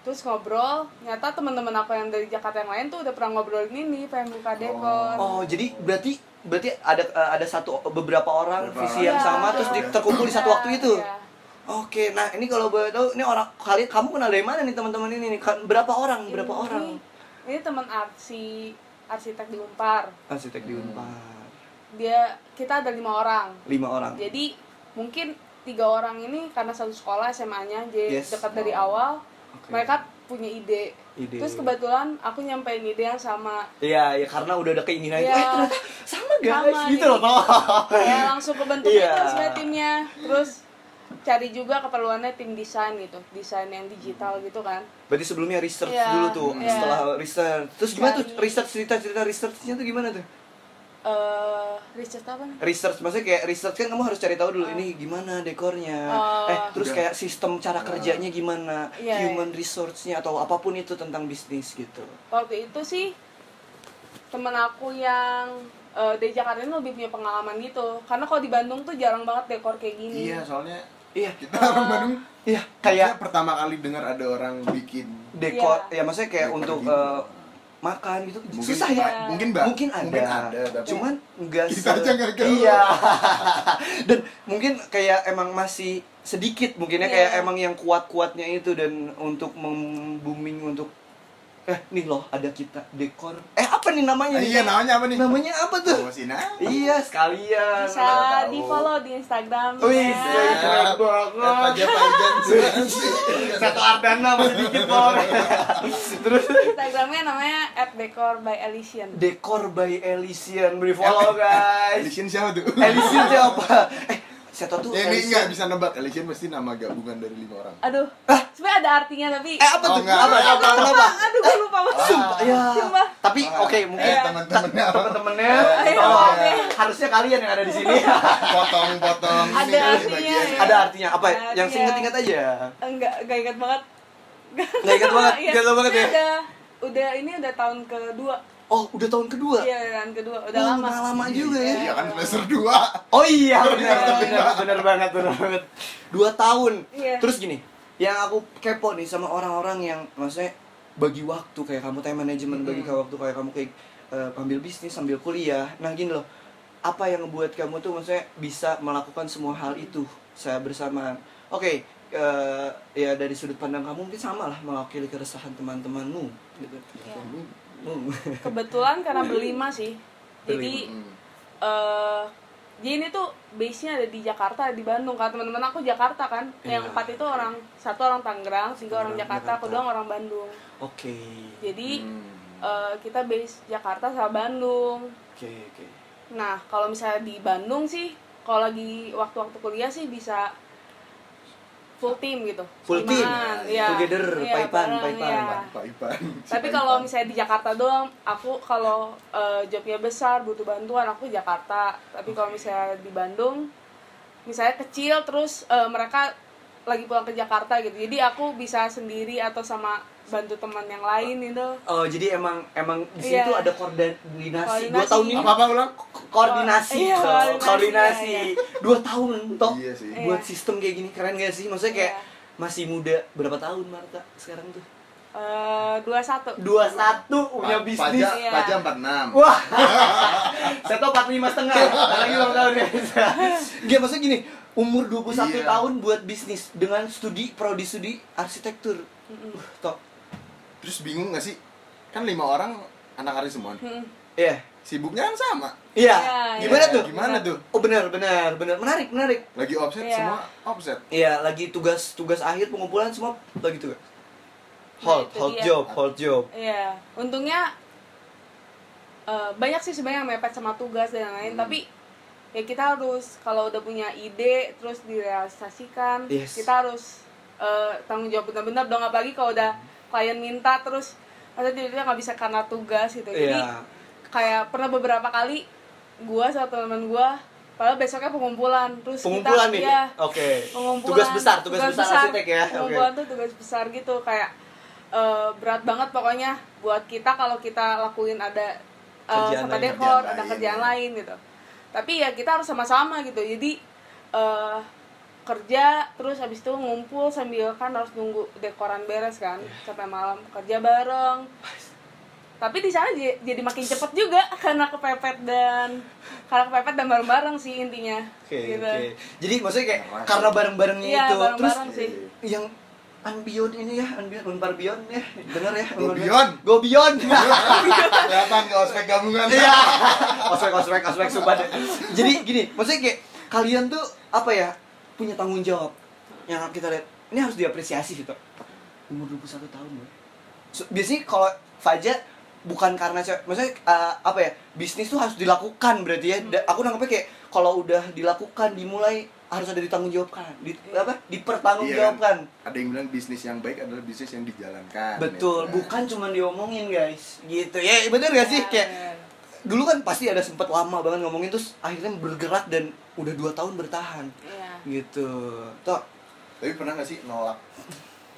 [SPEAKER 4] terus ngobrol nyata teman-teman aku yang dari Jakarta yang lain tuh udah pernah ngobrolin ini pengen buka dekor
[SPEAKER 1] Oh, jadi berarti berarti ada eh, ada satu beberapa orang
[SPEAKER 3] Beberapa orang.
[SPEAKER 1] visi yang
[SPEAKER 4] Iya.
[SPEAKER 1] sama terus di- terkumpul di satu
[SPEAKER 4] Iya,
[SPEAKER 1] waktu itu.
[SPEAKER 4] iya.
[SPEAKER 1] Oke, nah ini kalau boleh tahu ini orang kali kamu kenal dari mana nih teman-teman ini? nih? Kan- Berapa orang? Berapa
[SPEAKER 4] Ini-
[SPEAKER 1] orang?
[SPEAKER 4] Ini teman arsi arsitek di Unpar.
[SPEAKER 1] Arsitek di Unpar.
[SPEAKER 4] Dia kita ada lima orang.
[SPEAKER 1] Lima orang.
[SPEAKER 4] Jadi mungkin tiga orang ini karena satu sekolah SMA-nya jadi
[SPEAKER 1] Yes. Oh.
[SPEAKER 4] dekat dari awal
[SPEAKER 1] Oke.
[SPEAKER 4] mereka punya ide.
[SPEAKER 1] Ide.
[SPEAKER 4] terus kebetulan aku nyampein ide yang sama
[SPEAKER 1] Iya, ya karena udah ada keinginan itu.
[SPEAKER 4] Iya.
[SPEAKER 1] Eh, ternyata sama guys
[SPEAKER 4] Sama
[SPEAKER 1] gitu
[SPEAKER 4] nih.
[SPEAKER 1] loh. toh.
[SPEAKER 4] kayak langsung kebentuk
[SPEAKER 1] Iya.
[SPEAKER 4] itu sebenarnya timnya terus cari juga keperluannya tim desain gitu desain yang digital gitu kan
[SPEAKER 1] Berarti sebelumnya research
[SPEAKER 4] Iya,
[SPEAKER 1] dulu tuh,
[SPEAKER 4] iya.
[SPEAKER 1] setelah research. Terus gimana tuh
[SPEAKER 4] Cari.
[SPEAKER 1] research cerita-cerita researchnya tuh gimana tuh?
[SPEAKER 4] eh Richard apa nih
[SPEAKER 1] Research maksudnya kayak research kan kamu harus cari tahu dulu ini gimana dekornya.
[SPEAKER 4] Oh.
[SPEAKER 1] eh, terus kayak sistem cara kerjanya gimana,
[SPEAKER 4] Iya,
[SPEAKER 1] human resource-nya atau apapun itu tentang bisnis gitu.
[SPEAKER 4] waktu itu sih temen aku yang eh, dari Jakarta ini lebih punya pengalaman gitu karena kalau di Bandung tuh jarang banget dekor kayak gini
[SPEAKER 3] Iya, soalnya
[SPEAKER 1] Iya.
[SPEAKER 3] kita orang Bandung
[SPEAKER 1] Iya,
[SPEAKER 3] kayak
[SPEAKER 1] kayak
[SPEAKER 3] pertama kali dengar ada orang bikin
[SPEAKER 1] dekor ya
[SPEAKER 4] Iya.
[SPEAKER 1] maksudnya kayak
[SPEAKER 3] Dekor
[SPEAKER 1] untuk
[SPEAKER 3] gitu.
[SPEAKER 1] eh, makan gitu
[SPEAKER 3] Mungkin
[SPEAKER 1] susah
[SPEAKER 3] ba-
[SPEAKER 1] ya
[SPEAKER 3] mungkin ba-
[SPEAKER 1] mungkin ada,
[SPEAKER 3] mungkin ada, tapi-
[SPEAKER 1] cuman enggak
[SPEAKER 3] Kita aja nggak tahu.
[SPEAKER 1] iya dan mungkin kayak emang masih sedikit mungkinnya
[SPEAKER 4] Iya.
[SPEAKER 1] kayak emang yang kuat-kuatnya itu dan untuk membooming untuk eh nih loh ada kita dekor eh apa nih
[SPEAKER 3] Ah,
[SPEAKER 1] namanya nih?
[SPEAKER 3] iya namanya apa nih? Oh.
[SPEAKER 1] namanya apa tuh
[SPEAKER 3] Promosin aja.
[SPEAKER 1] iya sekalian Oh, iya,
[SPEAKER 4] bisa
[SPEAKER 3] Mana tahu.
[SPEAKER 4] di follow di Instagram
[SPEAKER 1] Wih,
[SPEAKER 4] ya.
[SPEAKER 1] keren
[SPEAKER 3] Apa
[SPEAKER 1] banget.
[SPEAKER 3] aja Pak Ijan?
[SPEAKER 1] Eh, Satu Ardana masih dikit Bor. Terus
[SPEAKER 4] Instagramnya namanya @dekor by Elysian
[SPEAKER 1] Dekor by Elysian Beri
[SPEAKER 3] Iya.
[SPEAKER 1] follow guys
[SPEAKER 3] Elysian siapa tuh?
[SPEAKER 1] Elysian siapa? Eh, siapa tuh
[SPEAKER 3] Ya, ini nggak
[SPEAKER 1] Elysian?
[SPEAKER 3] bisa nebak Elysian mesti nama gabungan dari lima orang.
[SPEAKER 4] aduh sebenarnya ada artinya tapi
[SPEAKER 1] Eh, apa
[SPEAKER 3] Oh,
[SPEAKER 1] tuh?
[SPEAKER 3] nggak.
[SPEAKER 1] Apa,
[SPEAKER 3] Nggak,
[SPEAKER 1] apa, apa, apa?
[SPEAKER 4] aduh gue lupa mas
[SPEAKER 1] Sumpah, ya
[SPEAKER 4] Sumpah.
[SPEAKER 1] Tapi,
[SPEAKER 3] Ah,
[SPEAKER 1] oke, mungkin
[SPEAKER 3] eh, temen-temennya apa?
[SPEAKER 1] temen-temennya
[SPEAKER 4] Iya,
[SPEAKER 1] tolong.
[SPEAKER 4] iya.
[SPEAKER 1] Harusnya kalian yang ada di sini
[SPEAKER 3] Potong-potong. ini
[SPEAKER 4] Ada
[SPEAKER 3] kan
[SPEAKER 4] artinya,
[SPEAKER 3] bagian.
[SPEAKER 4] ya.
[SPEAKER 1] Ada artinya, apa?
[SPEAKER 4] Ada
[SPEAKER 1] Yang
[SPEAKER 4] artinya.
[SPEAKER 1] singkat-singkat aja
[SPEAKER 4] enggak enggak ingat banget
[SPEAKER 1] Nggak ingat banget,
[SPEAKER 4] Iya.
[SPEAKER 1] nggak ingat banget ya
[SPEAKER 4] udah udah ini udah tahun kedua
[SPEAKER 1] Oh, udah tahun kedua?
[SPEAKER 4] iya udah tahun kedua udah
[SPEAKER 1] Oh,
[SPEAKER 4] lama
[SPEAKER 1] udah lama juga ya
[SPEAKER 3] Iya kan semester 2.
[SPEAKER 1] Oh iya benar
[SPEAKER 4] Iya.
[SPEAKER 1] benar benar banget benar banget. Dua tahun.
[SPEAKER 4] Iya.
[SPEAKER 1] Terus gini, yang aku kepo nih sama orang-orang yang maksudnya bagi waktu kayak kamu time management bagi kamu waktu kayak kamu kayak eh, ambil bisnis sambil kuliah. Nah gini loh, apa yang ngebuat kamu tuh maksudnya bisa melakukan semua hal itu saya bersamaan. Oke, eh, ya dari sudut pandang kamu mungkin sama lah mewakili keresahan teman-temanmu gitu.
[SPEAKER 4] Iya.
[SPEAKER 1] Hmm.
[SPEAKER 4] kebetulan karena berlima sih jadi eh jadi ini tuh base nya ada di Jakarta di Bandung kan teman-teman aku Jakarta kan yang
[SPEAKER 1] Iya.
[SPEAKER 4] empat itu orang satu orang Tangerang tiga orang
[SPEAKER 1] Orang
[SPEAKER 4] Jakarta aku
[SPEAKER 1] Jakarta.
[SPEAKER 4] doang orang Bandung
[SPEAKER 1] Oke.
[SPEAKER 4] jadi
[SPEAKER 3] Hmm.
[SPEAKER 4] eh, kita base Jakarta sama Bandung
[SPEAKER 1] Oke, oke.
[SPEAKER 4] Nah, kalau misalnya di Bandung sih, kalau lagi waktu-waktu kuliah sih bisa full team gitu.
[SPEAKER 1] Full team?
[SPEAKER 4] Timan,
[SPEAKER 1] Iya. Together, paipan,
[SPEAKER 4] bareng,
[SPEAKER 1] paipan.
[SPEAKER 4] iya.
[SPEAKER 3] Pak Ipan. Si
[SPEAKER 4] Tapi
[SPEAKER 3] Pak
[SPEAKER 4] kalau
[SPEAKER 3] Ipan.
[SPEAKER 4] misalnya di Jakarta doang, aku kalau eh, jobnya besar butuh bantuan aku ke Jakarta. Tapi kalau misalnya di Bandung, misalnya kecil terus eh, mereka lagi pulang ke Jakarta gitu. Jadi aku bisa sendiri atau sama bantu teman yang lain gitu.
[SPEAKER 1] Oh jadi emang emang di situ
[SPEAKER 4] Iya.
[SPEAKER 1] tuh ada koordinasi. Dua
[SPEAKER 4] Koordinasi.
[SPEAKER 1] tahun ini
[SPEAKER 3] apa-apa ulang?
[SPEAKER 1] ko- koordinasi,
[SPEAKER 4] Iya,
[SPEAKER 1] Cok.
[SPEAKER 4] koordinasi,
[SPEAKER 1] koordinasi.
[SPEAKER 4] iya,
[SPEAKER 1] Dua tahun toh
[SPEAKER 3] Iya sih.
[SPEAKER 1] buat
[SPEAKER 4] Iya.
[SPEAKER 1] sistem kayak gini keren gak sih? Maksudnya kayak
[SPEAKER 4] Iya.
[SPEAKER 1] masih muda berapa tahun Marta sekarang tuh?
[SPEAKER 4] Eh, dua satu.
[SPEAKER 1] Dua satu punya
[SPEAKER 3] Pa-
[SPEAKER 1] bisnis.
[SPEAKER 3] Pajak
[SPEAKER 4] Iya.
[SPEAKER 3] pajak 46.
[SPEAKER 1] Wah, saya tau 45 setengah, ntar lagi ulang tahun ya. Gak maksudnya gini, umur 21
[SPEAKER 3] Iya.
[SPEAKER 1] tahun buat bisnis dengan studi, prodi studi arsitektur. Uh, top.
[SPEAKER 3] Terus bingung gak sih? Kan lima orang anak hari semua. nih.
[SPEAKER 4] Mm-mm.
[SPEAKER 1] Iya.
[SPEAKER 3] Sibuknya kan sama.
[SPEAKER 1] Iya.
[SPEAKER 4] Iya,
[SPEAKER 1] Gimana
[SPEAKER 4] iya.
[SPEAKER 1] tuh?
[SPEAKER 3] Gimana tuh?
[SPEAKER 1] Oh benar, benar, benar. Menarik, menarik.
[SPEAKER 3] Lagi offset
[SPEAKER 4] Iya.
[SPEAKER 3] semua offset.
[SPEAKER 1] Iya, lagi tugas tugas akhir pengumpulan semua lagi tugas. Hold,
[SPEAKER 4] Nah, itu
[SPEAKER 1] hold
[SPEAKER 4] dia.
[SPEAKER 1] job, hold job.
[SPEAKER 4] Iya, untungnya eh, banyak sih sebenarnya yang mepet sama tugas dan lain-lain,
[SPEAKER 3] Hmm.
[SPEAKER 4] tapi ya kita harus kalau udah punya ide terus direalisasikan,
[SPEAKER 1] Yes.
[SPEAKER 4] kita harus eh, tanggung jawab benar-benar dong apalagi kalau udah
[SPEAKER 1] Hmm.
[SPEAKER 4] klien minta terus masa tiba-tiba nggak bisa karena tugas gitu. Jadi
[SPEAKER 1] Iya.
[SPEAKER 4] kayak pernah beberapa kali gua sama teman gua padahal besoknya pengumpulan terus
[SPEAKER 1] Pengumpulan
[SPEAKER 4] kita
[SPEAKER 1] nih.
[SPEAKER 4] iya,
[SPEAKER 1] Oke.
[SPEAKER 4] pengumpulan
[SPEAKER 1] Tugas besar, tugas, besar, arsitek ya. Oke.
[SPEAKER 4] pengumpulan tuh tugas besar gitu kayak eh, berat banget pokoknya buat kita kalau kita lakuin ada eh,
[SPEAKER 1] Kerjaan
[SPEAKER 4] sampai
[SPEAKER 1] lain,
[SPEAKER 4] dekor
[SPEAKER 3] kerjaan
[SPEAKER 4] ada
[SPEAKER 3] lain.
[SPEAKER 4] kerjaan lain gitu tapi ya kita harus sama-sama gitu jadi eh, kerja terus habis itu ngumpul sambil kan harus nunggu dekoran beres kan
[SPEAKER 1] Iya.
[SPEAKER 4] sampai malam kerja bareng tapi di sana j- jadi makin cepet juga karena kepepet dan karena kepepet dan bareng-bareng sih intinya
[SPEAKER 1] Oke,
[SPEAKER 4] gitu.
[SPEAKER 1] oke. Jadi maksudnya kayak
[SPEAKER 3] Keren.
[SPEAKER 1] karena bareng-barengnya
[SPEAKER 4] Iya,
[SPEAKER 1] itu terus
[SPEAKER 4] bareng-bareng sih.
[SPEAKER 1] yang Unbeyond ini ya, Unbeyond, Unpar Beyond ya, bener ya?
[SPEAKER 3] Go
[SPEAKER 1] Unpar
[SPEAKER 3] Beyond.
[SPEAKER 1] Go Beyond.
[SPEAKER 3] Kelihatan ke ospek gabungan.
[SPEAKER 1] Iya. Ospek, ospek, ospek, sumpah deh. Jadi gini, maksudnya kayak kalian tuh apa ya? punya tanggung jawab yang harus kita lihat ini harus diapresiasi gitu umur 21 tahun loh So, biasanya kalau Fajar bukan karena cewek maksudnya eh, apa ya bisnis tuh harus dilakukan berarti ya Da- aku nangkepnya kayak kalau udah dilakukan dimulai harus ada ditanggungjawabkan di, apa dipertanggungjawabkan
[SPEAKER 3] kan? Ada yang bilang bisnis yang baik adalah bisnis yang dijalankan.
[SPEAKER 1] Betul,
[SPEAKER 3] ya.
[SPEAKER 1] bukan cuma diomongin guys, gitu ya bener gak
[SPEAKER 4] Iya.
[SPEAKER 1] sih kayak dulu kan pasti ada sempet lama banget ngomongin terus akhirnya bergerak dan udah dua tahun bertahan
[SPEAKER 4] Iya.
[SPEAKER 1] gitu. Toh
[SPEAKER 3] Tapi pernah nggak sih nolak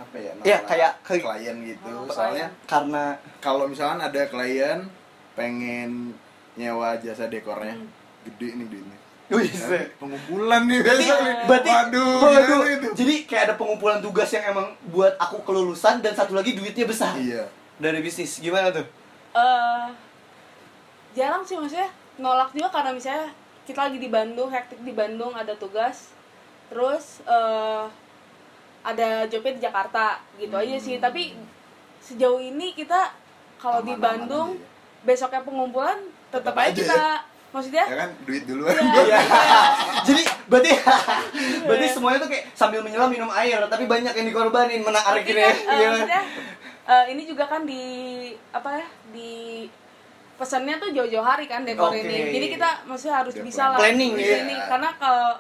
[SPEAKER 3] apa ya? Nolak
[SPEAKER 1] Iya, kayak- kayak-
[SPEAKER 3] klien gitu.
[SPEAKER 4] Oh,
[SPEAKER 3] Soalnya
[SPEAKER 1] ya, karena
[SPEAKER 3] kalau misalkan ada klien pengen nyewa jasa dekornya,
[SPEAKER 4] Hmm.
[SPEAKER 3] gede nih duitnya.
[SPEAKER 1] Wih,
[SPEAKER 3] Nah,
[SPEAKER 1] se-
[SPEAKER 3] pengumpulan nih
[SPEAKER 1] berarti,
[SPEAKER 3] biasa nih.
[SPEAKER 1] berarti
[SPEAKER 3] waduh,
[SPEAKER 1] waduh.
[SPEAKER 3] gila nih itu.
[SPEAKER 1] jadi kayak ada pengumpulan tugas yang emang buat aku kelulusan dan satu lagi duitnya besar
[SPEAKER 3] Iya.
[SPEAKER 1] dari bisnis gimana tuh?
[SPEAKER 4] eh jarang sih maksudnya nolak juga karena misalnya kita lagi di Bandung hektik di Bandung ada tugas terus eh ada jobnya di Jakarta gitu aja sih tapi sejauh ini kita kalau di
[SPEAKER 3] Aman-aman
[SPEAKER 4] Bandung
[SPEAKER 3] aja
[SPEAKER 4] besoknya pengumpulan tetap
[SPEAKER 3] Tetep
[SPEAKER 4] aja
[SPEAKER 3] aja
[SPEAKER 4] kita
[SPEAKER 3] ya.
[SPEAKER 4] maksudnya
[SPEAKER 3] Ya kan duit duluan.
[SPEAKER 4] Iya.
[SPEAKER 1] jadi berarti berarti semuanya tuh kayak sambil menyelam minum air tapi banyak yang dikorbanin menarik
[SPEAKER 4] Tapi
[SPEAKER 1] ini
[SPEAKER 4] kan, eh,
[SPEAKER 1] Iya.
[SPEAKER 4] maksudnya, eh, ini juga kan di apa ya di pesannya tuh jauh-jauh hari kan dekor
[SPEAKER 1] Oke. iya,
[SPEAKER 4] ini jadi kita maksudnya harus
[SPEAKER 3] Udah
[SPEAKER 4] bisa lah
[SPEAKER 1] planning
[SPEAKER 4] di
[SPEAKER 1] ya.
[SPEAKER 4] sini. karena kalau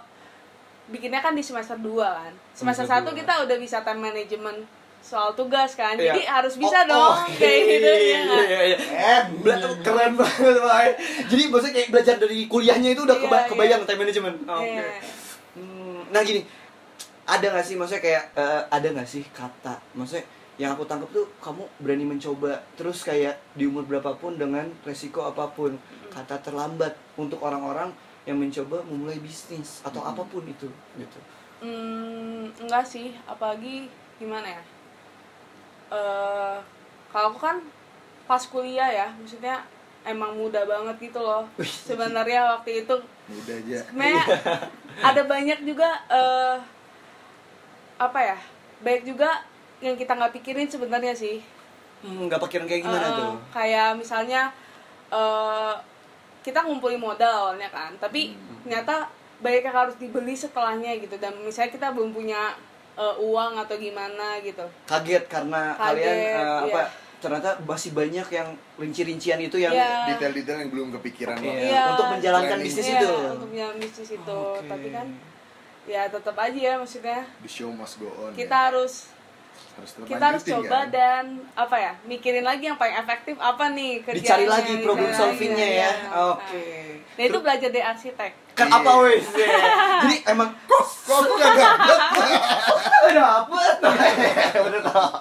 [SPEAKER 4] bikinnya kan di semester 2 kan semester
[SPEAKER 1] Semester
[SPEAKER 4] 1
[SPEAKER 1] dua.
[SPEAKER 4] kita udah bisa time management soal tugas kan
[SPEAKER 1] Iya.
[SPEAKER 4] jadi harus bisa
[SPEAKER 1] Oh,
[SPEAKER 4] dong
[SPEAKER 1] oh,
[SPEAKER 4] kayak gitu ya
[SPEAKER 1] iya,
[SPEAKER 4] nggak?
[SPEAKER 1] iya, iya. Bela- keren banget Wai. jadi maksudnya kayak belajar dari kuliahnya itu udah
[SPEAKER 4] Iya,
[SPEAKER 1] keba-
[SPEAKER 4] iya.
[SPEAKER 1] kebayang time management oke
[SPEAKER 4] Iya.
[SPEAKER 1] Hmm, nah gini ada nggak sih maksudnya kayak eh, ada nggak sih kata maksudnya yang aku tangkap tuh kamu berani mencoba terus kayak di umur berapapun dengan resiko apapun kata terlambat untuk orang-orang yang mencoba memulai bisnis atau
[SPEAKER 3] Hmm.
[SPEAKER 1] apapun itu gitu
[SPEAKER 4] Hmm, enggak sih, apalagi gimana ya? Eh, kalau aku kan pas kuliah ya, maksudnya emang muda banget gitu loh. Sebenarnya waktu itu
[SPEAKER 3] Mudah aja.
[SPEAKER 4] sebenarnya ada banyak juga eh apa ya? Baik juga yang kita nggak pikirin sebenarnya sih.
[SPEAKER 1] Hmm, nggak pikiran kayak gimana
[SPEAKER 4] Eh,
[SPEAKER 1] tuh
[SPEAKER 4] Kayak misalnya eh kita ngumpulin modal awalnya kan, tapi
[SPEAKER 1] Hmm.
[SPEAKER 4] ternyata banyak yang harus dibeli setelahnya gitu. Dan misalnya kita belum punya eh, uang atau gimana gitu.
[SPEAKER 1] kaget karena
[SPEAKER 4] Kaget,
[SPEAKER 1] kalian eh,
[SPEAKER 4] iya.
[SPEAKER 1] apa ternyata masih banyak yang rinci-rincian itu yang
[SPEAKER 4] Iya.
[SPEAKER 3] Detail-detail yang belum kepikiran
[SPEAKER 1] Oke,
[SPEAKER 3] banget.
[SPEAKER 4] Iya.
[SPEAKER 1] untuk menjalankan
[SPEAKER 3] Planning.
[SPEAKER 1] bisnis
[SPEAKER 4] Iya,
[SPEAKER 1] itu. Oh,
[SPEAKER 4] Untuk punya bisnis itu,
[SPEAKER 1] Oke.
[SPEAKER 4] tapi kan ya tetap aja ya maksudnya
[SPEAKER 3] The show must go on.
[SPEAKER 4] kita
[SPEAKER 3] ya.
[SPEAKER 4] harus
[SPEAKER 3] harus
[SPEAKER 4] kita harus
[SPEAKER 3] terlanjutin,
[SPEAKER 4] coba
[SPEAKER 3] kan?
[SPEAKER 4] dan apa ya mikirin lagi yang paling efektif apa nih kerjanya
[SPEAKER 1] Dicari lagi problem
[SPEAKER 4] dicari lagi,
[SPEAKER 1] solvingnya ya.
[SPEAKER 4] iya.
[SPEAKER 1] Oke.
[SPEAKER 4] Nah, nah, itu belajar dari arsitek
[SPEAKER 1] Kan apa wes? ya? Jadi emang kok
[SPEAKER 3] Kok aku gak dapet?
[SPEAKER 1] dapet. Bener tau.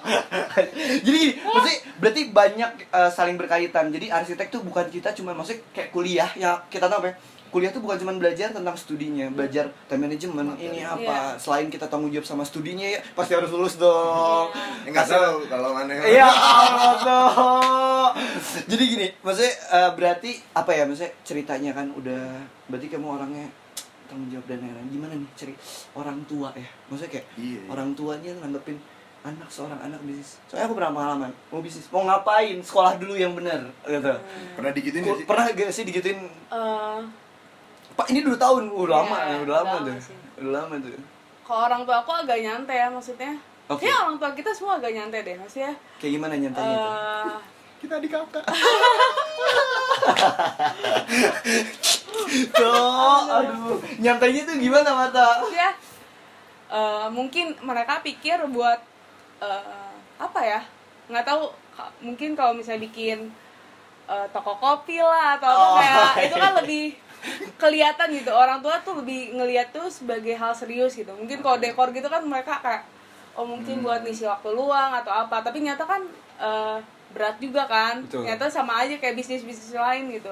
[SPEAKER 1] Jadi gini, maksudnya berarti banyak eh, saling berkaitan. Jadi arsitek tuh bukan kita cuma maksudnya kayak kuliah ya kita tahu apa ya? Kuliah tuh bukan cuma belajar tentang studinya, belajar time management ini apa.
[SPEAKER 4] Iya.
[SPEAKER 1] Selain kita tanggung jawab sama studinya ya pasti harus lulus dong.
[SPEAKER 4] Iya.
[SPEAKER 3] Ya, nggak
[SPEAKER 1] Kasih-
[SPEAKER 3] tahu kalau mana yang-
[SPEAKER 1] Iya, Allah tuh. Jadi gini, maksudnya eh, berarti apa ya? Maksudnya ceritanya kan udah berarti kamu orangnya tanggung jawab dan lain-lain. Gimana nih ceri orang tua ya? Maksudnya kayak
[SPEAKER 3] Iya, iya.
[SPEAKER 1] orang tuanya nganggepin anak seorang anak bisnis. Soalnya aku pernah pengalaman mau bisnis, mau ngapain? Sekolah dulu yang bener gitu.
[SPEAKER 3] pernah digituin nggak sih?
[SPEAKER 1] Pernah gak sih digituin?
[SPEAKER 4] Eh,
[SPEAKER 1] Pak ini dua tahun, uh, lama,
[SPEAKER 4] Iya,
[SPEAKER 1] ya, udah lama,
[SPEAKER 4] lama
[SPEAKER 1] tuh,
[SPEAKER 4] sih.
[SPEAKER 1] udah lama tuh.
[SPEAKER 4] kalau orang tua aku agak nyantai ya maksudnya
[SPEAKER 1] Oke.
[SPEAKER 4] Kayaknya orang tua kita semua agak nyantai deh maksudnya
[SPEAKER 1] Kayak gimana nyantainya tuh?
[SPEAKER 4] eh
[SPEAKER 3] Kita di kakak.
[SPEAKER 4] Eh,
[SPEAKER 1] Tuh, aduh, nyantainya tuh gimana mata?
[SPEAKER 4] maksudnya Ya. eh, mungkin mereka pikir buat eh, apa ya nggak tahu ka- mungkin kalau misalnya bikin eh, toko kopi lah atau apa
[SPEAKER 1] Oh,
[SPEAKER 4] kayak itu kan
[SPEAKER 1] iya.
[SPEAKER 4] lebih kelihatan gitu orang tua tuh lebih ngelihat tuh sebagai hal serius gitu mungkin kalau dekor gitu kan mereka kayak oh
[SPEAKER 1] Hmm.
[SPEAKER 4] mungkin buat ngisi waktu luang atau apa tapi nyata kan eh, berat juga kan
[SPEAKER 1] Betul.
[SPEAKER 4] nyata sama aja kayak bisnis bisnis lain gitu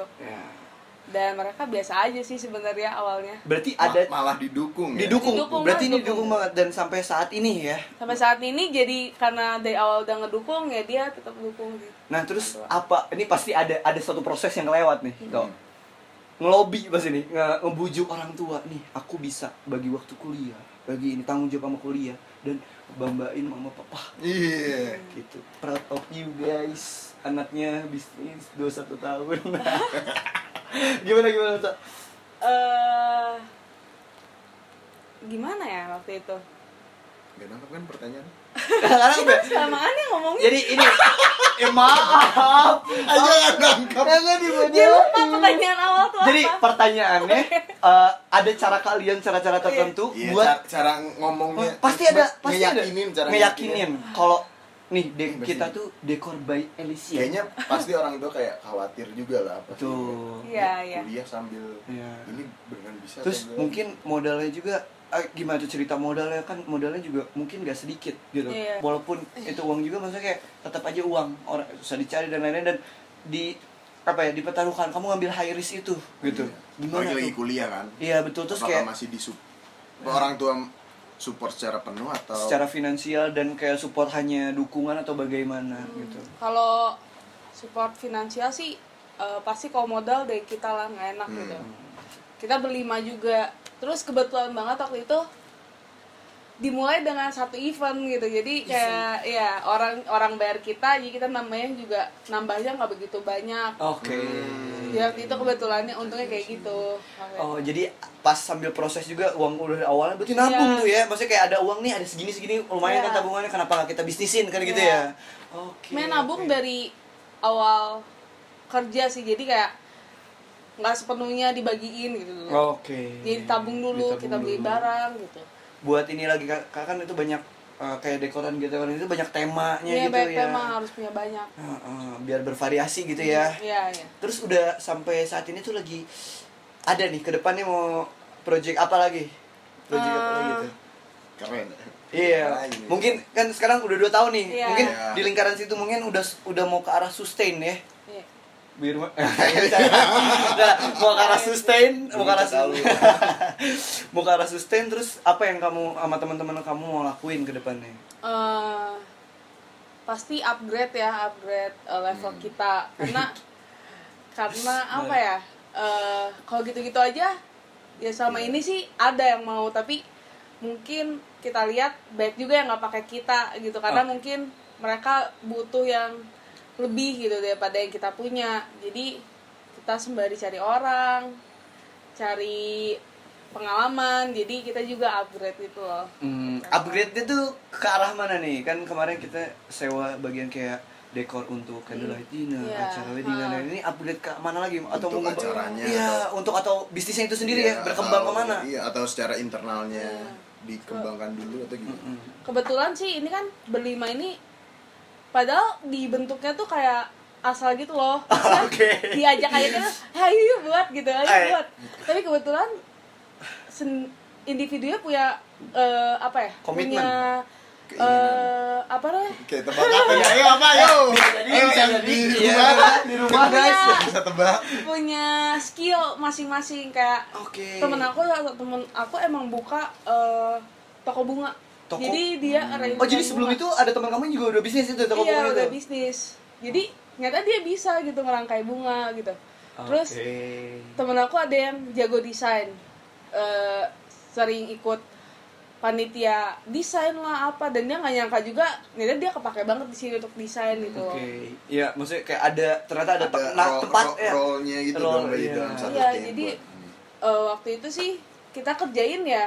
[SPEAKER 4] dan mereka biasa aja sih sebenarnya awalnya
[SPEAKER 1] Berarti
[SPEAKER 3] Ma-
[SPEAKER 1] ada
[SPEAKER 3] malah didukung ya.
[SPEAKER 1] didukung.
[SPEAKER 4] Didukung,
[SPEAKER 1] Berarti
[SPEAKER 4] Mas,
[SPEAKER 1] ini didukung
[SPEAKER 4] didukung.
[SPEAKER 1] banget dan sampai saat ini ya.
[SPEAKER 4] sampai saat ini jadi karena dari awal udah ngedukung ya dia tetap dukung gitu.
[SPEAKER 1] Nah, terus apa? Ini pasti ada ada suatu proses yang kelewat nih,
[SPEAKER 4] Hmm.
[SPEAKER 1] Dok. Ngelobi pas ini, nge- ngebujuk orang tua nih, aku bisa bagi waktu kuliah, bagi ini tanggung jawab sama kuliah dan bambain mama
[SPEAKER 4] Hmm.
[SPEAKER 1] papa
[SPEAKER 3] Iya.
[SPEAKER 1] gitu. Proud of you guys. Anaknya bisnis 21 tahun. gimana gimana, Cak?
[SPEAKER 4] eh gimana ya waktu itu
[SPEAKER 3] Gak nangkep kan pertanyaan?
[SPEAKER 1] Sekarang udah.
[SPEAKER 4] kelamaan ya ngomongnya
[SPEAKER 1] Jadi ini eh maaf.
[SPEAKER 3] Aja gak nangkep
[SPEAKER 1] Jangan
[SPEAKER 4] dia
[SPEAKER 1] dibodoh.
[SPEAKER 4] lupa pertanyaan awal tuh
[SPEAKER 1] Jadi
[SPEAKER 4] apa
[SPEAKER 1] pertanyaannya eh, ada cara kalian cara-cara tertentu
[SPEAKER 3] Iya,
[SPEAKER 1] buat Oh,
[SPEAKER 3] cara, cara ngomongnya
[SPEAKER 1] pasti ada pasti ada
[SPEAKER 3] Ngeyakinin cara
[SPEAKER 1] ngeyakinin kalau nih de-
[SPEAKER 3] Pasti.
[SPEAKER 1] kita tuh dekor by Elysia.
[SPEAKER 3] Kayaknya pasti orang tua kayak khawatir juga lah pasti.
[SPEAKER 1] Betul.
[SPEAKER 4] Iya, iya.
[SPEAKER 3] Kuliah sambil
[SPEAKER 1] Iya.
[SPEAKER 3] ini beneran bisa
[SPEAKER 1] Terus
[SPEAKER 3] atau enggak?
[SPEAKER 1] mungkin modalnya juga eh, gimana tuh cerita modalnya kan modalnya juga mungkin gak sedikit gitu.
[SPEAKER 4] Iya.
[SPEAKER 1] Walaupun itu uang juga maksudnya kayak tetap aja uang orang susah dicari dan lain-lain dan di apa ya dipertaruhkan kamu ngambil high risk itu gitu.
[SPEAKER 3] Iya.
[SPEAKER 1] Gimana
[SPEAKER 3] Apalagi lagi
[SPEAKER 1] tuh?
[SPEAKER 3] kuliah kan.
[SPEAKER 1] Iya betul terus
[SPEAKER 3] Apakah
[SPEAKER 1] kayak Iya.
[SPEAKER 3] masih di sup orang tua support secara penuh atau
[SPEAKER 1] secara finansial dan kayak support hanya dukungan atau bagaimana gitu.
[SPEAKER 4] kalau support finansial sih eh, pasti kalau modal dari kita lah nggak enak
[SPEAKER 3] Hmm.
[SPEAKER 4] gitu kita berlima juga terus kebetulan banget waktu itu dimulai dengan satu event gitu jadi kayak ya orang orang bayar kita jadi kita nambahnya juga nambahnya nggak begitu banyak
[SPEAKER 1] Oke.
[SPEAKER 4] ya waktu itu kebetulannya untungnya kayak gitu
[SPEAKER 1] Hmm. Oh, jadi pas sambil proses juga uang udah dari awalnya berarti nabung
[SPEAKER 4] Iya.
[SPEAKER 1] tuh ya. Maksudnya kayak ada uang nih, ada segini-segini lumayan
[SPEAKER 4] Iya.
[SPEAKER 1] kan tabungannya kenapa nggak kita bisnisin kan gitu
[SPEAKER 4] Iya.
[SPEAKER 1] ya. Oke.
[SPEAKER 4] main nabung
[SPEAKER 1] oke.
[SPEAKER 4] dari awal kerja sih jadi kayak nggak sepenuhnya dibagiin gitu dulu.
[SPEAKER 1] Oke.
[SPEAKER 4] jadi tabung dulu
[SPEAKER 1] Oh, iya, Ditabung
[SPEAKER 4] kita beli
[SPEAKER 1] dulu.
[SPEAKER 4] barang gitu
[SPEAKER 1] Buat ini lagi Kak, Kak, kan itu banyak eh, kayak dekoran gitu kan itu banyak temanya
[SPEAKER 4] Iya,
[SPEAKER 1] gitu
[SPEAKER 4] banyak
[SPEAKER 1] ya.
[SPEAKER 4] memang harus punya banyak
[SPEAKER 1] Heeh, biar bervariasi gitu ya.
[SPEAKER 4] iya iya
[SPEAKER 1] Terus udah sampai saat ini tuh lagi ada nih ke depannya mau project apa lagi? Project apa lagi tuh?
[SPEAKER 3] keren.
[SPEAKER 1] Iya,
[SPEAKER 3] Lain.
[SPEAKER 1] mungkin kan sekarang udah dua tahun nih.
[SPEAKER 4] Iya.
[SPEAKER 1] Mungkin
[SPEAKER 3] Iya.
[SPEAKER 1] di lingkaran situ mungkin udah udah mau ke arah sustain ya.
[SPEAKER 4] iya.
[SPEAKER 1] Biar nah, mau ke arah sustain, mau ke arah
[SPEAKER 3] Belum
[SPEAKER 1] sustain. mau ke arah sustain terus apa yang kamu sama teman-teman kamu mau lakuin ke depannya?
[SPEAKER 4] Eh, pasti upgrade ya upgrade eh, level kita karena karena apa ya eh, kalau gitu-gitu aja ya selama ini sih ada yang mau tapi mungkin kita lihat baik juga yang nggak pakai kita gitu karena
[SPEAKER 1] Oh.
[SPEAKER 4] mungkin mereka butuh yang lebih gitu daripada yang kita punya jadi kita sembari cari orang cari pengalaman jadi kita juga upgrade gitu loh
[SPEAKER 1] Hmm, upgrade-nya tuh ke arah mana nih? Kan kemarin kita sewa bagian kayak dekor untuk nah, candlelight dinner,
[SPEAKER 4] Iya,
[SPEAKER 1] acara wedding dan
[SPEAKER 4] ha.
[SPEAKER 1] lain-lain. ini upgrade ke mana lagi atau
[SPEAKER 3] Untuk
[SPEAKER 1] mau nge-
[SPEAKER 3] acaranya
[SPEAKER 1] Iya,
[SPEAKER 3] atau-
[SPEAKER 1] untuk atau bisnisnya itu sendiri
[SPEAKER 3] Iya,
[SPEAKER 1] ya berkembang
[SPEAKER 3] atau-
[SPEAKER 1] kemana?
[SPEAKER 3] Iya, atau secara internalnya
[SPEAKER 4] Iya.
[SPEAKER 3] dikembangkan dulu atau gimana?
[SPEAKER 1] Mm-mm.
[SPEAKER 4] kebetulan sih ini kan berlima ini padahal dibentuknya tuh kayak asal gitu loh Maksudnya
[SPEAKER 1] Oke.
[SPEAKER 4] diajak aja kita ayo yuk buat gitu ayo
[SPEAKER 1] Eh.
[SPEAKER 4] buat tapi kebetulan sen- individunya puya eh, apa ya
[SPEAKER 1] Komitmen.
[SPEAKER 4] punya eh, apa namanya
[SPEAKER 3] Kayak tebakan ya, ayo apa ayo. Ayo
[SPEAKER 1] bisa
[SPEAKER 3] yang
[SPEAKER 1] jadi.
[SPEAKER 3] di
[SPEAKER 1] Iya,
[SPEAKER 3] rumah
[SPEAKER 1] di rumah, guys.
[SPEAKER 4] Punya-
[SPEAKER 3] bisa tebak.
[SPEAKER 4] punya skill masing-masing kayak
[SPEAKER 1] Oke.
[SPEAKER 4] temen aku atau temen aku emang buka eh, toko bunga
[SPEAKER 1] Toko?
[SPEAKER 4] jadi dia arrangement
[SPEAKER 1] Oh jadi sebelum
[SPEAKER 4] bunga.
[SPEAKER 1] itu ada teman kamu yang juga udah bisnis itu toko
[SPEAKER 4] iya,
[SPEAKER 1] bunga
[SPEAKER 4] udah
[SPEAKER 1] itu?
[SPEAKER 4] bisnis. Jadi ternyata dia bisa gitu ngerangkai bunga gitu. Terus
[SPEAKER 1] Oke.
[SPEAKER 4] temen aku ada yang jago desain, Eh, sering ikut panitia desain lah apa dan dia nggak nyangka juga ternyata dia kepake banget di sini untuk desain gitu.
[SPEAKER 1] Oke, iya maksudnya kayak ada ternyata ada, te- nah,
[SPEAKER 3] role-
[SPEAKER 1] tempat
[SPEAKER 3] role-
[SPEAKER 1] ya.
[SPEAKER 3] role-nya gitu
[SPEAKER 1] Role,
[SPEAKER 3] dong di
[SPEAKER 1] iya.
[SPEAKER 3] dalam satu
[SPEAKER 4] Iya,
[SPEAKER 3] tim
[SPEAKER 4] jadi-
[SPEAKER 3] buat ini.
[SPEAKER 4] Eh, waktu itu sih kita kerjain ya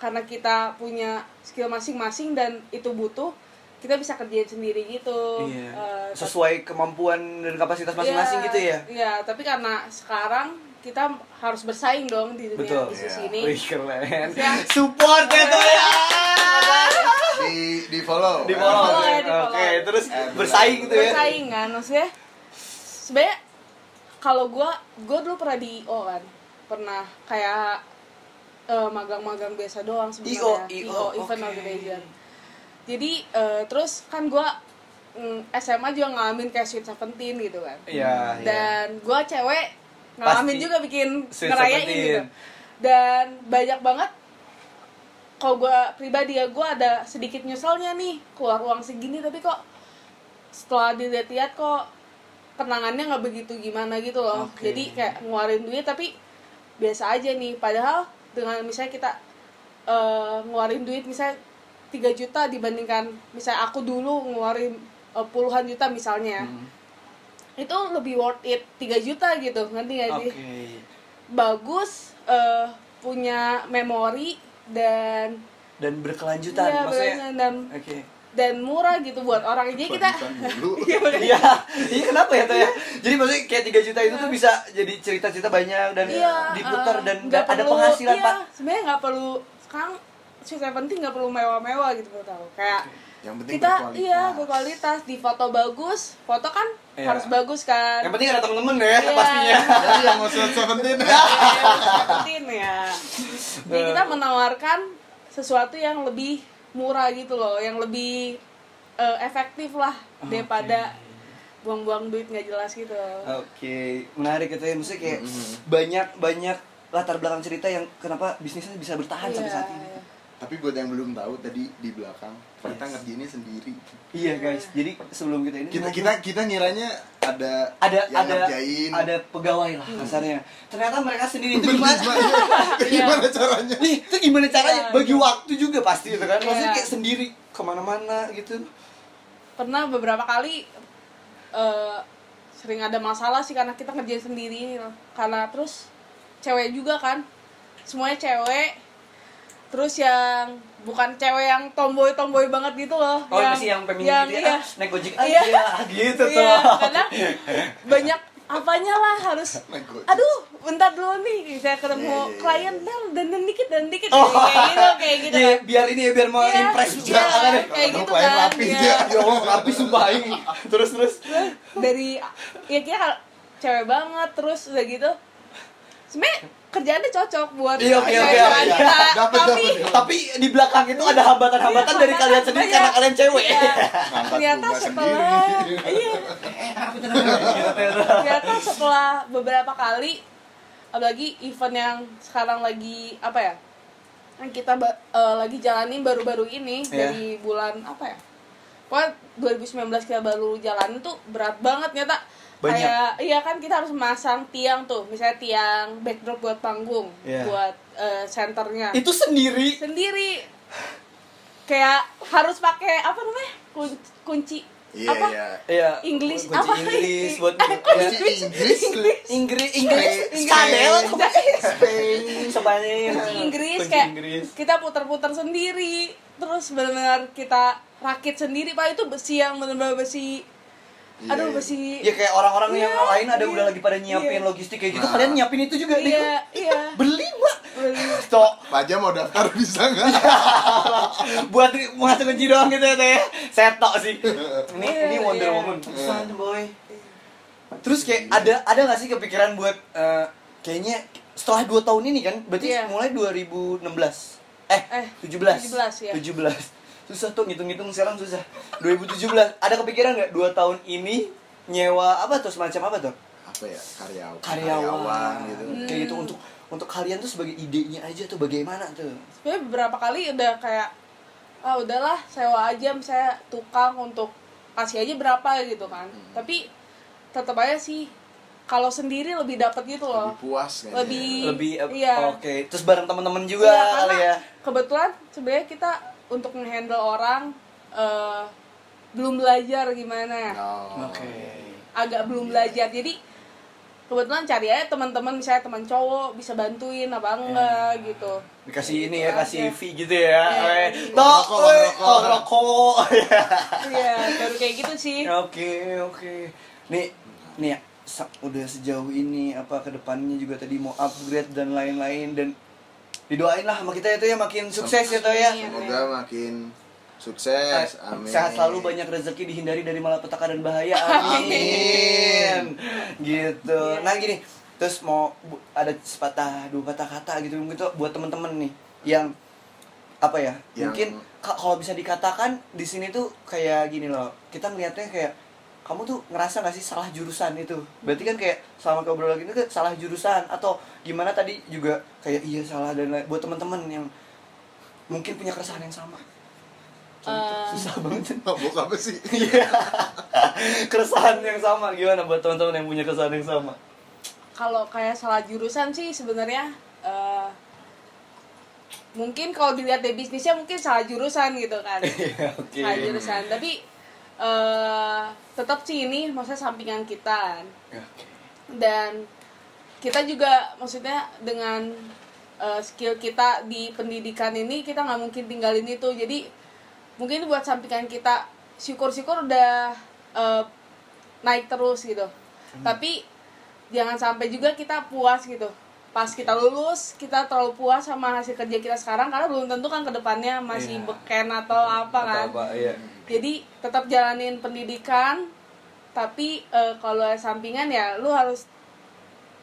[SPEAKER 4] karena kita punya skill masing-masing dan itu butuh kita bisa kerjain sendiri gitu.
[SPEAKER 1] Iya.
[SPEAKER 4] Eh, tapi-
[SPEAKER 1] Sesuai kemampuan dan kapasitas masing-masing
[SPEAKER 4] Iya,
[SPEAKER 1] gitu ya.
[SPEAKER 4] Iya, tapi karena sekarang kita harus bersaing dong di dunia
[SPEAKER 1] Betul.
[SPEAKER 4] bisnis
[SPEAKER 3] Iya.
[SPEAKER 4] ini.
[SPEAKER 1] Wih keren.
[SPEAKER 4] Ya.
[SPEAKER 1] Support itu ya.
[SPEAKER 3] Di di follow.
[SPEAKER 1] Di follow.
[SPEAKER 4] Di follow ya,
[SPEAKER 1] Oke,
[SPEAKER 4] di follow.
[SPEAKER 1] terus
[SPEAKER 3] Eh,
[SPEAKER 1] bersaing gitu ya.
[SPEAKER 4] Bersaing kan maksudnya. Sebenarnya kalau gua gua dulu pernah di IO kan. Pernah kayak eh, magang-magang biasa doang sebenarnya.
[SPEAKER 1] IO,
[SPEAKER 4] event
[SPEAKER 1] oke.
[SPEAKER 4] organizer. Jadi eh, terus kan gua mm, SMA juga ngalamin kayak Sweet Seventeen gitu kan.
[SPEAKER 1] Iya. iya.
[SPEAKER 4] dan gua cewek ngalamin
[SPEAKER 1] Pasti.
[SPEAKER 4] juga bikin
[SPEAKER 1] Sweet
[SPEAKER 4] ngerayain
[SPEAKER 1] seventeen.
[SPEAKER 4] gitu dan banyak banget kalau gua pribadi ya gua ada sedikit nyeselnya nih keluar uang segini tapi kok setelah dilihat-lihat kok kenangannya nggak begitu gimana gitu loh
[SPEAKER 1] Oke.
[SPEAKER 4] jadi kayak ngeluarin duit tapi biasa aja nih padahal dengan misalnya kita eh, ngeluarin duit misalnya 3 juta dibandingkan misalnya aku dulu ngeluarin eh, puluhan juta misalnya
[SPEAKER 1] Hmm.
[SPEAKER 4] itu lebih worth it 3 juta gitu ngerti gak sih
[SPEAKER 1] Oke.
[SPEAKER 4] bagus eh, punya memori dan
[SPEAKER 1] dan berkelanjutan
[SPEAKER 4] Iya,
[SPEAKER 1] maksudnya.
[SPEAKER 4] berkelanjutan dan
[SPEAKER 1] Oke.
[SPEAKER 4] dan murah gitu buat orang jadi kita
[SPEAKER 3] dulu
[SPEAKER 1] Iya, iya kenapa ya Toh ya? Jadi maksudnya kayak 3 juta itu tuh bisa jadi cerita-cerita banyak dan
[SPEAKER 4] iya
[SPEAKER 1] diputar
[SPEAKER 4] eh,
[SPEAKER 1] dan
[SPEAKER 4] nggak
[SPEAKER 1] ada
[SPEAKER 4] perlu-
[SPEAKER 1] penghasilan,
[SPEAKER 4] iya,
[SPEAKER 1] Pak.
[SPEAKER 4] sebenarnya nggak perlu sekarang sweet penting nggak perlu mewah-mewah gitu gue tahu kayak
[SPEAKER 3] yang penting
[SPEAKER 4] kita
[SPEAKER 3] berkualitas.
[SPEAKER 4] iya berkualitas di foto bagus foto kan
[SPEAKER 1] Iya.
[SPEAKER 4] harus bagus kan
[SPEAKER 1] Yang penting ada temen-temen ya
[SPEAKER 4] Iya.
[SPEAKER 1] pastinya.
[SPEAKER 3] Jadi yang mau surat seventeen
[SPEAKER 1] Ya.
[SPEAKER 4] Penting ya. Jadi
[SPEAKER 1] Nah.
[SPEAKER 4] kita menawarkan sesuatu yang lebih murah gitu loh, yang lebih eh, efektif lah daripada buang-buang duit nggak jelas gitu.
[SPEAKER 1] Eh, Oke, menarik itu ya. Maksudnya kayak banyak banyak latar belakang cerita yang kenapa bisnisnya bisa bertahan sampai
[SPEAKER 4] Iya,
[SPEAKER 1] saat ini.
[SPEAKER 4] iya.
[SPEAKER 3] tapi buat yang belum tahu tadi di belakang kita
[SPEAKER 1] Yes.
[SPEAKER 3] ngerjainnya sendiri
[SPEAKER 1] Iya guys, jadi sebelum kita ini
[SPEAKER 3] kita
[SPEAKER 1] memang
[SPEAKER 3] kita kita ngiranya ada
[SPEAKER 1] ada
[SPEAKER 3] yang
[SPEAKER 1] ada
[SPEAKER 3] ngerjain
[SPEAKER 1] ada pegawai lah kasarnya. Ternyata mereka sendiri itu
[SPEAKER 3] Gimana-
[SPEAKER 1] gimana?
[SPEAKER 3] Iya. gimana caranya
[SPEAKER 1] Nih, itu gimana caranya?
[SPEAKER 4] Iya.
[SPEAKER 1] Bagi waktu juga pasti itu kan. Maksudnya
[SPEAKER 4] Iya.
[SPEAKER 1] kayak sendiri kemana-mana gitu.
[SPEAKER 4] Pernah beberapa kali eh, sering ada masalah sih karena kita ngerjain sendiri ini loh. Karena terus cewek juga kan, semuanya cewek. Terus yang bukan cewek yang tomboy-tomboy banget gitu loh.
[SPEAKER 1] Oh, yang, masih yang feminim gitu ya?
[SPEAKER 4] iya.
[SPEAKER 1] Ah, naik gojek aja
[SPEAKER 4] Iya.
[SPEAKER 1] gitu tuh.
[SPEAKER 4] Iya, kadang banyak apanya lah harus
[SPEAKER 3] Ngegoy.
[SPEAKER 4] aduh bentar dulu nih saya ketemu
[SPEAKER 3] Iya, iya, iya.
[SPEAKER 4] klien dan dan dikit dan dikit
[SPEAKER 1] Oh.
[SPEAKER 4] kayak gitu kayak gitu
[SPEAKER 1] Iya, biar ini ya, biar mau
[SPEAKER 4] Iya,
[SPEAKER 1] impress juga
[SPEAKER 4] iya,
[SPEAKER 1] kan ya.
[SPEAKER 4] kayak
[SPEAKER 3] Kalau
[SPEAKER 4] gitu
[SPEAKER 3] klien
[SPEAKER 4] kan
[SPEAKER 3] rapi
[SPEAKER 4] iya.
[SPEAKER 3] dia.
[SPEAKER 1] Ya Allah, habis sumpah aing. Terus terus.
[SPEAKER 4] dari ya kita kalau cewek banget terus udah gitu sebenarnya kerjaannya cocok buat
[SPEAKER 1] Iya, oke, oke,
[SPEAKER 4] cewek cewek
[SPEAKER 1] iya.
[SPEAKER 4] kita,
[SPEAKER 3] Dapet,
[SPEAKER 4] tapi
[SPEAKER 3] dapet.
[SPEAKER 1] Tapi di belakang itu ada hambatan-hambatan Kan dari kalian sendiri
[SPEAKER 4] Iya.
[SPEAKER 1] karena kalian cewek.
[SPEAKER 4] iya.
[SPEAKER 3] Ngangkat
[SPEAKER 4] ternyata
[SPEAKER 3] rumah
[SPEAKER 4] setelah
[SPEAKER 3] sendiri.
[SPEAKER 4] iya ternyata setelah beberapa kali apalagi event yang sekarang lagi apa ya yang kita ba- eh, lagi jalanin baru-baru ini
[SPEAKER 1] Iya.
[SPEAKER 4] dari bulan apa ya Pokoknya 2019 kita baru jalanin tuh berat banget nyata
[SPEAKER 1] Banyak.
[SPEAKER 4] kayak iya kan kita harus masang tiang tuh misalnya tiang backdrop buat panggung
[SPEAKER 1] Iya.
[SPEAKER 4] buat eh, senternya
[SPEAKER 1] Itu sendiri.
[SPEAKER 4] sendiri kayak harus pakai apa namanya Kun- kunci
[SPEAKER 3] iya
[SPEAKER 4] apa
[SPEAKER 3] iya
[SPEAKER 1] Iya.
[SPEAKER 4] English
[SPEAKER 1] kunci
[SPEAKER 4] apa
[SPEAKER 1] Inggris buat
[SPEAKER 3] Kunci Inggris
[SPEAKER 1] Inggris Inggris
[SPEAKER 3] Spain.
[SPEAKER 1] skandal
[SPEAKER 3] Spain
[SPEAKER 1] sebanyak
[SPEAKER 4] kunci Inggris kayak kita putar-putar sendiri terus benar-benar kita rakit sendiri pak itu besi yang benar-benar besi
[SPEAKER 3] Iya, iya.
[SPEAKER 4] aduh besi
[SPEAKER 1] Ya kayak orang-orang yang
[SPEAKER 4] Iya,
[SPEAKER 1] lain ada
[SPEAKER 4] iya,
[SPEAKER 1] udah lagi pada nyiapin
[SPEAKER 4] iya.
[SPEAKER 1] logistik kayak gitu
[SPEAKER 3] Nah.
[SPEAKER 1] kalian nyiapin itu juga deh.
[SPEAKER 4] iya iya
[SPEAKER 1] Berlima.
[SPEAKER 4] Beli-
[SPEAKER 1] Tok
[SPEAKER 3] Paja mau daftar bisa
[SPEAKER 4] Iya.
[SPEAKER 3] nggak?
[SPEAKER 1] buat ngasih kunci doang gitu ya teh setok sih ini
[SPEAKER 4] Iya,
[SPEAKER 1] ini Wonder
[SPEAKER 4] iya.
[SPEAKER 1] Woman Son, boy terus kayak ada ada nggak sih kepikiran buat eh, kayaknya setelah 2 tahun ini kan berarti
[SPEAKER 4] Iya.
[SPEAKER 1] mulai 2016 eh,
[SPEAKER 4] Eh,
[SPEAKER 1] 17
[SPEAKER 4] 17, ya.
[SPEAKER 1] 17. susah tuh ngitung-ngitung sekarang susah 2017 ada kepikiran nggak 2 tahun ini nyewa apa tuh semacam apa tuh
[SPEAKER 3] Apa ya karyawan?
[SPEAKER 1] karyawan
[SPEAKER 3] gitu.
[SPEAKER 1] kayak gitu untuk untuk kalian tuh sebagai idenya aja tuh bagaimana tuh
[SPEAKER 4] sebenarnya beberapa kali udah kayak ah udahlah sewa aja misalnya tukang untuk kasih aja berapa gitu kan tapi tetap aja sih kalau sendiri lebih dapat gitu loh
[SPEAKER 3] Lebih puas kayaknya.
[SPEAKER 4] Lebih-
[SPEAKER 1] lebih eh,
[SPEAKER 4] Iya.
[SPEAKER 1] oke terus bareng teman-teman juga
[SPEAKER 4] Iya,
[SPEAKER 1] kali ya
[SPEAKER 4] kebetulan sebenarnya kita untuk menghandle orang eh, belum belajar gimana
[SPEAKER 3] Oh.
[SPEAKER 4] agak belum belajar jadi kebetulan cari aja teman-teman misalnya teman cowok bisa bantuin apa enggak gitu
[SPEAKER 1] dikasih ini ya
[SPEAKER 4] Gitu
[SPEAKER 1] kasih
[SPEAKER 4] aja.
[SPEAKER 1] fee gitu ya
[SPEAKER 4] Iya.
[SPEAKER 1] Weh. tok
[SPEAKER 3] Rokok,
[SPEAKER 1] weh.
[SPEAKER 3] rokok.
[SPEAKER 1] oh rokok
[SPEAKER 4] iya baru kayak gitu sih
[SPEAKER 1] oke oke nih nih se- udah sejauh ini apa kedepannya juga tadi mau upgrade dan lain-lain dan didoain lah sama kita itu ya makin sukses ya toh ya
[SPEAKER 4] Amin.
[SPEAKER 3] Semoga makin sukses.
[SPEAKER 1] Eh,
[SPEAKER 3] Amin.
[SPEAKER 1] Sehat selalu banyak rezeki dihindari dari malapetaka dan bahaya. Amin. gitu.
[SPEAKER 4] Iya.
[SPEAKER 1] Nah gini, terus mau bu- ada sepatah dua patah kata gitu gitu buat temen-temen nih yang apa ya?
[SPEAKER 3] Yang-
[SPEAKER 1] Mungkin ka- kalau bisa dikatakan di sini tuh kayak gini loh. Kita ngeliatnya kayak kamu tuh ngerasa gak sih salah jurusan itu? Berarti kan kayak selama kau lagi itu salah jurusan atau gimana tadi juga kayak iya salah dan lain buat temen-temen yang mungkin punya keresahan yang sama.
[SPEAKER 4] Eh,
[SPEAKER 1] Susah banget.
[SPEAKER 3] Mabuk apa Oh, sih?
[SPEAKER 1] Iya. keresahan yang sama gimana buat teman-teman yang punya keresahan yang sama?
[SPEAKER 4] kalau kayak salah jurusan sih sebenarnya eh, mungkin kalau dilihat dari bisnisnya mungkin salah jurusan gitu kan
[SPEAKER 1] Oke.
[SPEAKER 4] salah jurusan tapi eh, tetap sih ini maksudnya sampingan kita dan kita juga maksudnya dengan eh, skill kita di pendidikan ini kita nggak mungkin tinggalin itu jadi mungkin buat sampingan kita syukur-syukur udah eh, naik terus gitu
[SPEAKER 1] Hmm.
[SPEAKER 4] tapi jangan sampai juga kita puas gitu pas kita lulus kita terlalu puas sama hasil kerja kita sekarang karena belum tentu kan kedepannya masih
[SPEAKER 1] Iya.
[SPEAKER 4] beken atau
[SPEAKER 1] Atau
[SPEAKER 4] apa kan
[SPEAKER 1] apa, iya.
[SPEAKER 4] jadi tetap jalanin pendidikan tapi eh, kalau sampingan ya lu harus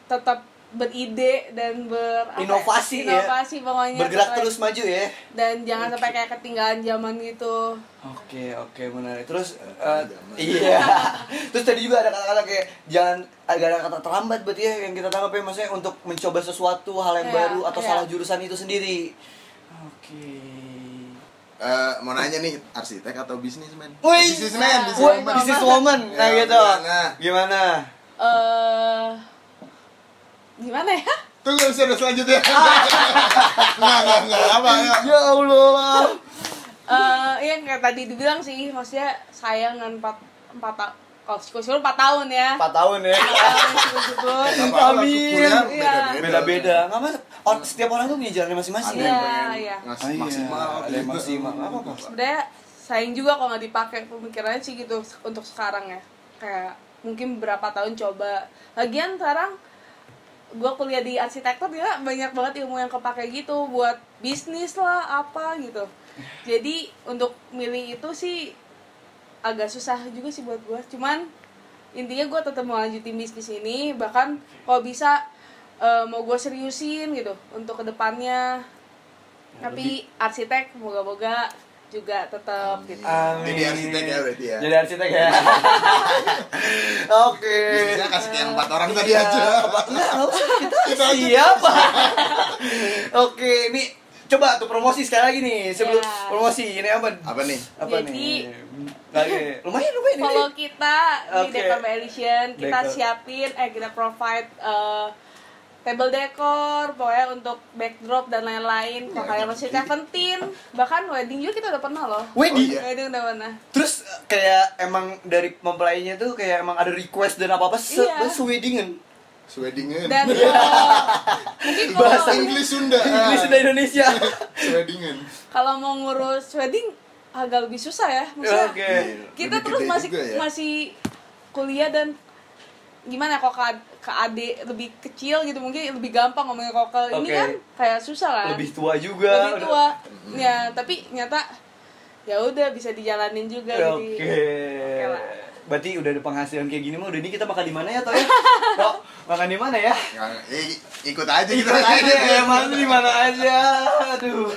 [SPEAKER 4] tetap beride dan ber apa ya?
[SPEAKER 1] Inovasi ya.
[SPEAKER 4] inovasi pokoknya
[SPEAKER 1] Bergerak
[SPEAKER 4] Tetap-
[SPEAKER 1] terus maju ya.
[SPEAKER 4] dan jangan sampai kayak ketinggalan zaman gitu
[SPEAKER 1] Oke, oke, menarik. Terus eh, iya. Terus tadi juga ada kata-kata kayak jangan agak ada kata terlambat berarti ya yang kita tangkap ya maksudnya untuk mencoba sesuatu hal yang
[SPEAKER 4] Iya,
[SPEAKER 1] baru atau
[SPEAKER 4] iya.
[SPEAKER 1] salah jurusan itu sendiri. Oke.
[SPEAKER 3] Eh, mau nanya nih, arsitek atau bisnismen?
[SPEAKER 1] Wih,
[SPEAKER 3] bisnismen,
[SPEAKER 1] Woi,
[SPEAKER 3] bisnismen.
[SPEAKER 1] bisnis woman, nah
[SPEAKER 3] Ya,
[SPEAKER 1] gitu.
[SPEAKER 3] gimana?
[SPEAKER 1] Gimana?
[SPEAKER 4] eh gimana ya
[SPEAKER 2] Tunggu episode selanjutnya. Enggak, enggak, enggak. Apa, enggak.
[SPEAKER 1] Ah. Ya Allah.
[SPEAKER 4] eh yang kayak tadi dibilang sih maksudnya sayang dengan empat empat tahun kalau syukur-syukur empat tahun ya
[SPEAKER 1] 4 tahun ya.
[SPEAKER 4] Tahun, syukur-syukur.
[SPEAKER 3] Apa-apa,
[SPEAKER 1] Amin.
[SPEAKER 3] kuliah
[SPEAKER 4] Iya.
[SPEAKER 1] Beda-beda. Enggak apa-apa. Or- Setiap orang tuh punya jalannya masing-masing.
[SPEAKER 3] Ada yang
[SPEAKER 4] Iya,
[SPEAKER 3] pengen
[SPEAKER 4] iya.
[SPEAKER 3] ngas-
[SPEAKER 1] Ah, iya.
[SPEAKER 3] maksimal, gitu.
[SPEAKER 1] Ada yang maksimal. Nggak apa-apa.
[SPEAKER 4] sebenarnya sayang juga kalau nggak dipakai pemikirannya sih gitu untuk sekarang ya kayak mungkin berapa tahun coba lagian sekarang gue kuliah di arsitektur dia banyak banget ilmu yang kepake gitu buat bisnis lah apa gitu jadi untuk milih itu sih agak susah juga sih buat gue cuman intinya gue tetap mau lanjutin bisnis ini bahkan kalau bisa eh, mau gue seriusin gitu untuk kedepannya tapi arsitek moga-moga juga tetap gitu
[SPEAKER 1] Amin.
[SPEAKER 3] Jadi arsitek ya berarti ya.
[SPEAKER 1] Jadi arsitek ya. Oke.
[SPEAKER 3] Bisnisnya kasih ke yang empat
[SPEAKER 4] Iya.
[SPEAKER 3] orang tadi aja.
[SPEAKER 1] Enggak, enggak usah. Kita siap. Oke, ini coba tuh promosi sekali lagi nih. Sebelum
[SPEAKER 4] Ya.
[SPEAKER 1] promosi ini apa?
[SPEAKER 3] Apa nih?
[SPEAKER 1] Apa
[SPEAKER 4] Jadi-
[SPEAKER 1] nih? Oke, lumayan lumayan ini.
[SPEAKER 4] follow kita
[SPEAKER 1] Oke.
[SPEAKER 4] di Decor by Elysian. kita
[SPEAKER 1] Decor.
[SPEAKER 4] siapin eh kita provide eh, table decor pokoknya untuk backdrop dan lain-lain kalau kalian masih Seventeen bahkan wedding juga kita udah pernah loh
[SPEAKER 3] Oh,
[SPEAKER 1] Wedi.
[SPEAKER 3] iya.
[SPEAKER 4] wedding udah pernah
[SPEAKER 1] Terus eh, kayak emang dari mempelainya tuh kayak emang ada request dan apa-apa se
[SPEAKER 4] Iya.
[SPEAKER 1] se weddingan.
[SPEAKER 3] Swedingen.
[SPEAKER 4] dan eh, mungkin
[SPEAKER 1] Bahasa
[SPEAKER 4] kalau
[SPEAKER 3] English Sunda.
[SPEAKER 1] Inggris dan Indonesia.
[SPEAKER 4] Iya.
[SPEAKER 3] Swedingen.
[SPEAKER 4] kalau mau ngurus wedding agak lebih susah ya maksudnya
[SPEAKER 1] Oke.
[SPEAKER 4] kita
[SPEAKER 3] Lebih
[SPEAKER 4] terus
[SPEAKER 3] gede
[SPEAKER 4] masih
[SPEAKER 3] juga ya.
[SPEAKER 4] masih kuliah dan gimana kok ke, ke adik lebih kecil gitu mungkin lebih gampang ngomongin kok ke ini
[SPEAKER 1] Oke.
[SPEAKER 4] kan kayak susah kan
[SPEAKER 1] Lebih tua juga.
[SPEAKER 4] Lebih tua ya tapi nyata ya udah bisa dijalanin juga
[SPEAKER 1] Oke.
[SPEAKER 4] jadi lah.
[SPEAKER 1] Berarti udah ada penghasilan kayak gini mah udah ini kita makan di mana ya toh ya? Toh, makan di mana ya?
[SPEAKER 3] Ya, i- ikut aja kita.
[SPEAKER 1] Aja ya, mana di mana aja. Aduh.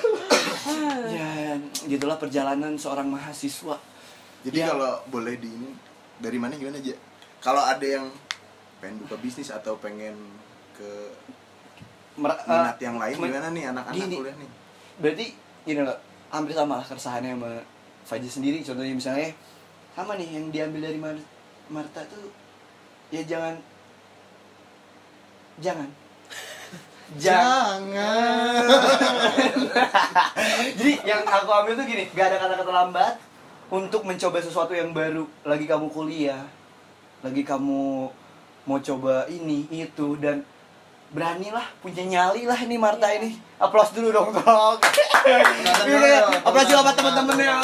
[SPEAKER 1] ya, gitulah perjalanan seorang mahasiswa.
[SPEAKER 3] Jadi
[SPEAKER 1] Iya.
[SPEAKER 3] kalau boleh di ini dari mana gimana aja? Kalau ada yang pengen buka bisnis atau pengen ke
[SPEAKER 1] Mer-
[SPEAKER 3] minat
[SPEAKER 1] eh,
[SPEAKER 3] yang lain
[SPEAKER 1] men-
[SPEAKER 3] gimana nih anak-anak
[SPEAKER 1] gini.
[SPEAKER 3] kuliah nih?
[SPEAKER 1] Berarti gini loh, hampir sama lah keresahannya sama Fajri sendiri. Contohnya misalnya sama nih yang diambil dari Mar- Marta tuh ya jangan jangan jangan Jadi yang aku ambil tuh gini, gak ada kata-kata lambat untuk mencoba sesuatu yang baru. Lagi kamu kuliah, lagi kamu mau coba ini itu dan beranilah punya nyali lah ini Marta
[SPEAKER 4] Iya.
[SPEAKER 1] ini. Aplaus dulu dong, Dok. Iya, Aplaus juga buat teman-teman ya.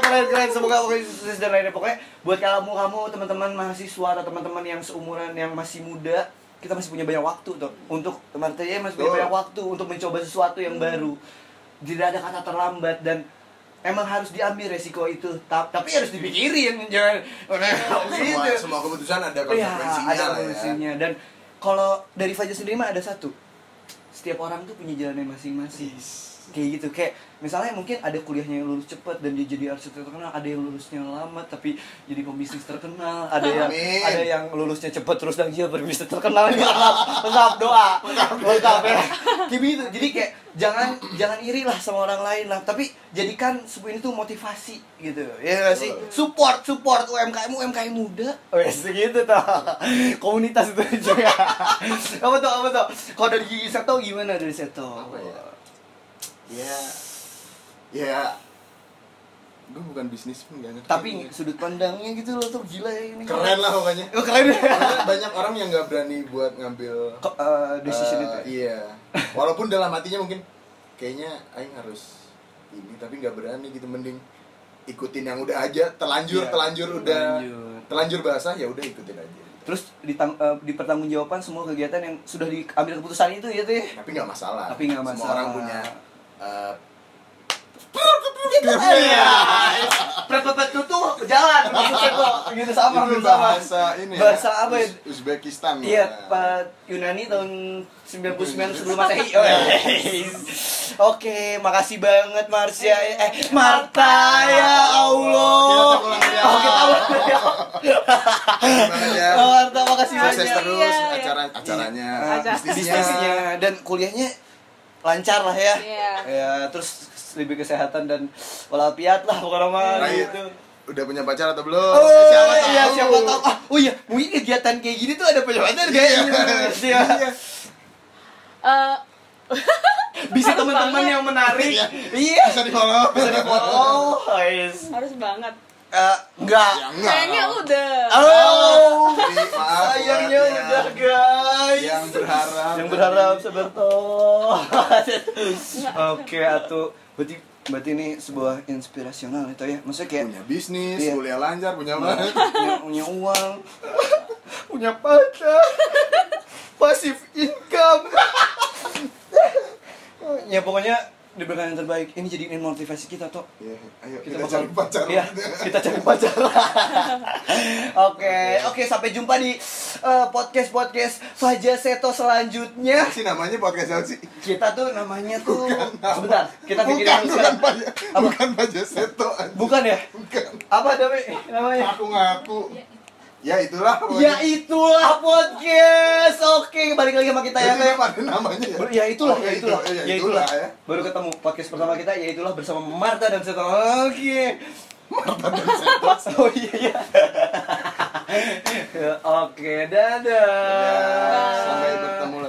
[SPEAKER 1] Keren-keren semoga pokoknya sukses dan lainnya pokoknya buat kamu kamu teman-teman mahasiswa atau teman-teman yang seumuran yang masih muda kita masih punya banyak waktu tuh untuk Marta ya masih punya
[SPEAKER 3] Betul.
[SPEAKER 1] banyak waktu untuk mencoba sesuatu yang baru tidak ada kata terlambat dan emang harus diambil resiko itu Ta- tapi harus dipikirin jangan
[SPEAKER 3] Semua,
[SPEAKER 1] gitu
[SPEAKER 3] semua keputusan ada
[SPEAKER 1] Iya,
[SPEAKER 3] konsekuensinya
[SPEAKER 1] ada
[SPEAKER 3] lah ya.
[SPEAKER 1] konsekuensinya dan kalau dari Fajar sendiri mah ada satu setiap orang tuh punya jalannya masing-masing kayak gitu kayak misalnya mungkin ada kuliahnya yang lulus cepat dan dia jadi arsitek terkenal ada yang lulusnya lama tapi jadi pembisnis terkenal ada yang
[SPEAKER 3] Amin.
[SPEAKER 1] ada yang lulusnya cepat terus dan dia berbisnis terkenal ini lengkap lengkap doa lengkap ya kayak gitu jadi kayak jangan jangan iri lah sama orang lain lah tapi jadikan sebuah ini tuh motivasi gitu ya nggak sih support support UMKM UMKM muda wes gitu tuh komunitas itu juga apa tuh apa tuh kalau dari gigi seto gimana dari seto
[SPEAKER 3] Apa ya? Ya, ya, gue bukan bisnis pun nggak ngerti.
[SPEAKER 1] tapi sudut pandangnya gitu loh tuh gila ya ini
[SPEAKER 3] keren lah pokoknya.
[SPEAKER 1] Oh, keren ya
[SPEAKER 3] Karena banyak orang yang nggak berani buat ngambil
[SPEAKER 1] Ko- eh, decision
[SPEAKER 3] eh,
[SPEAKER 1] itu ya?
[SPEAKER 3] Iya. walaupun dalam hatinya mungkin kayaknya aing harus ini tapi nggak berani gitu mending ikutin yang udah aja telanjur
[SPEAKER 1] Iya,
[SPEAKER 3] telanjur udah
[SPEAKER 1] telanjur.
[SPEAKER 3] telanjur basah ya udah ikutin aja
[SPEAKER 1] Terus ditang, eh, dipertanggungjawaban semua kegiatan yang sudah diambil keputusan itu ya teh.
[SPEAKER 3] tapi nggak masalah
[SPEAKER 1] Tapi nggak
[SPEAKER 3] semua
[SPEAKER 1] masalah.
[SPEAKER 3] orang punya eh, Gitu.
[SPEAKER 1] Iya. Prepet tuh jalan maksudnya kok gitu sama
[SPEAKER 3] itu
[SPEAKER 1] sama.
[SPEAKER 3] bahasa ini ya,
[SPEAKER 1] Bahasa apa ya?
[SPEAKER 3] Uz- Uzbekistan ya.
[SPEAKER 1] Iya, Pak Yunani tahun 99 sebelum Masehi. Oh, yes. Oke, makasih banget Marsha. Eh, Marta ya Allah. Oh,
[SPEAKER 3] Kita ulang ya.
[SPEAKER 1] Oke, tahu.
[SPEAKER 3] Gimana ya?
[SPEAKER 1] Oh, Marta makasih
[SPEAKER 3] sukses
[SPEAKER 1] banyak.
[SPEAKER 3] terus
[SPEAKER 4] Iya, iya.
[SPEAKER 3] acara acaranya
[SPEAKER 4] Acara.
[SPEAKER 3] bisnisnya
[SPEAKER 1] Iya. Bisnisnya dan kuliahnya lancar lah ya.
[SPEAKER 4] Iya.
[SPEAKER 1] Ya, terus lebih kesehatan dan walafiat lah pokoknya mah
[SPEAKER 3] Nah,
[SPEAKER 1] gitu.
[SPEAKER 3] udah punya pacar atau belum Eh,
[SPEAKER 1] Oh,
[SPEAKER 3] siapa tahu
[SPEAKER 1] iya, siapa tahu. Ah, oh iya, mungkin kegiatan kayak gini tuh ada
[SPEAKER 3] Iya.
[SPEAKER 1] penyewaan kayak gitu. Iya.
[SPEAKER 4] Eh,
[SPEAKER 1] Bisa teman-teman yang menarik. Iya.
[SPEAKER 3] bisa di follow
[SPEAKER 1] Bisa di follow.
[SPEAKER 4] harus banget.
[SPEAKER 1] Eh, enggak.
[SPEAKER 3] ya enggak
[SPEAKER 4] Kayaknya udah.
[SPEAKER 1] Oh.
[SPEAKER 3] Jadi, maaf
[SPEAKER 1] Sayangnya
[SPEAKER 3] buat
[SPEAKER 1] udah,
[SPEAKER 3] yang-
[SPEAKER 1] guys.
[SPEAKER 3] Iya. yang berharap
[SPEAKER 1] yang berharap sebertoh oke atuh berarti berarti ini sebuah inspirasional itu ya maksudnya kayak
[SPEAKER 3] punya bisnis
[SPEAKER 1] Iya.
[SPEAKER 3] kuliah lancar punya apa
[SPEAKER 1] punya, punya uang punya pacar pasif income ya pokoknya diberikan yang terbaik ini jadiin motivasi kita toh
[SPEAKER 3] Iya, ayo kita,
[SPEAKER 1] bakal-
[SPEAKER 3] cari pacar
[SPEAKER 1] Iya, kita cari pacar oke oke sampai jumpa di podcast podcast Fajar Seto selanjutnya
[SPEAKER 3] Apa sih Ya, namanya podcast apa sih
[SPEAKER 1] kita tuh namanya tuh sebentar kita pikirin
[SPEAKER 3] bukan
[SPEAKER 1] dulu
[SPEAKER 3] bukan
[SPEAKER 1] sebentar.
[SPEAKER 3] pak
[SPEAKER 1] Apa?
[SPEAKER 3] bukan pak Jaseto anjing.
[SPEAKER 1] bukan ya
[SPEAKER 3] bukan
[SPEAKER 1] apa Dami namanya
[SPEAKER 3] aku ngaku ya itulah
[SPEAKER 1] ya itulah podcast oke balik lagi sama kita ya
[SPEAKER 3] Jadi apa ada namanya ya?
[SPEAKER 1] Baru- ya itulah
[SPEAKER 3] Oh,
[SPEAKER 1] ya
[SPEAKER 3] itu-
[SPEAKER 1] itulah
[SPEAKER 3] ya itulah ya.
[SPEAKER 1] baru ketemu podcast pertama kita ya itulah bersama Marta dan Seto oke Marta dan Seto oh iya iya oke dadah
[SPEAKER 3] Ya, Sampai bertemu lagi.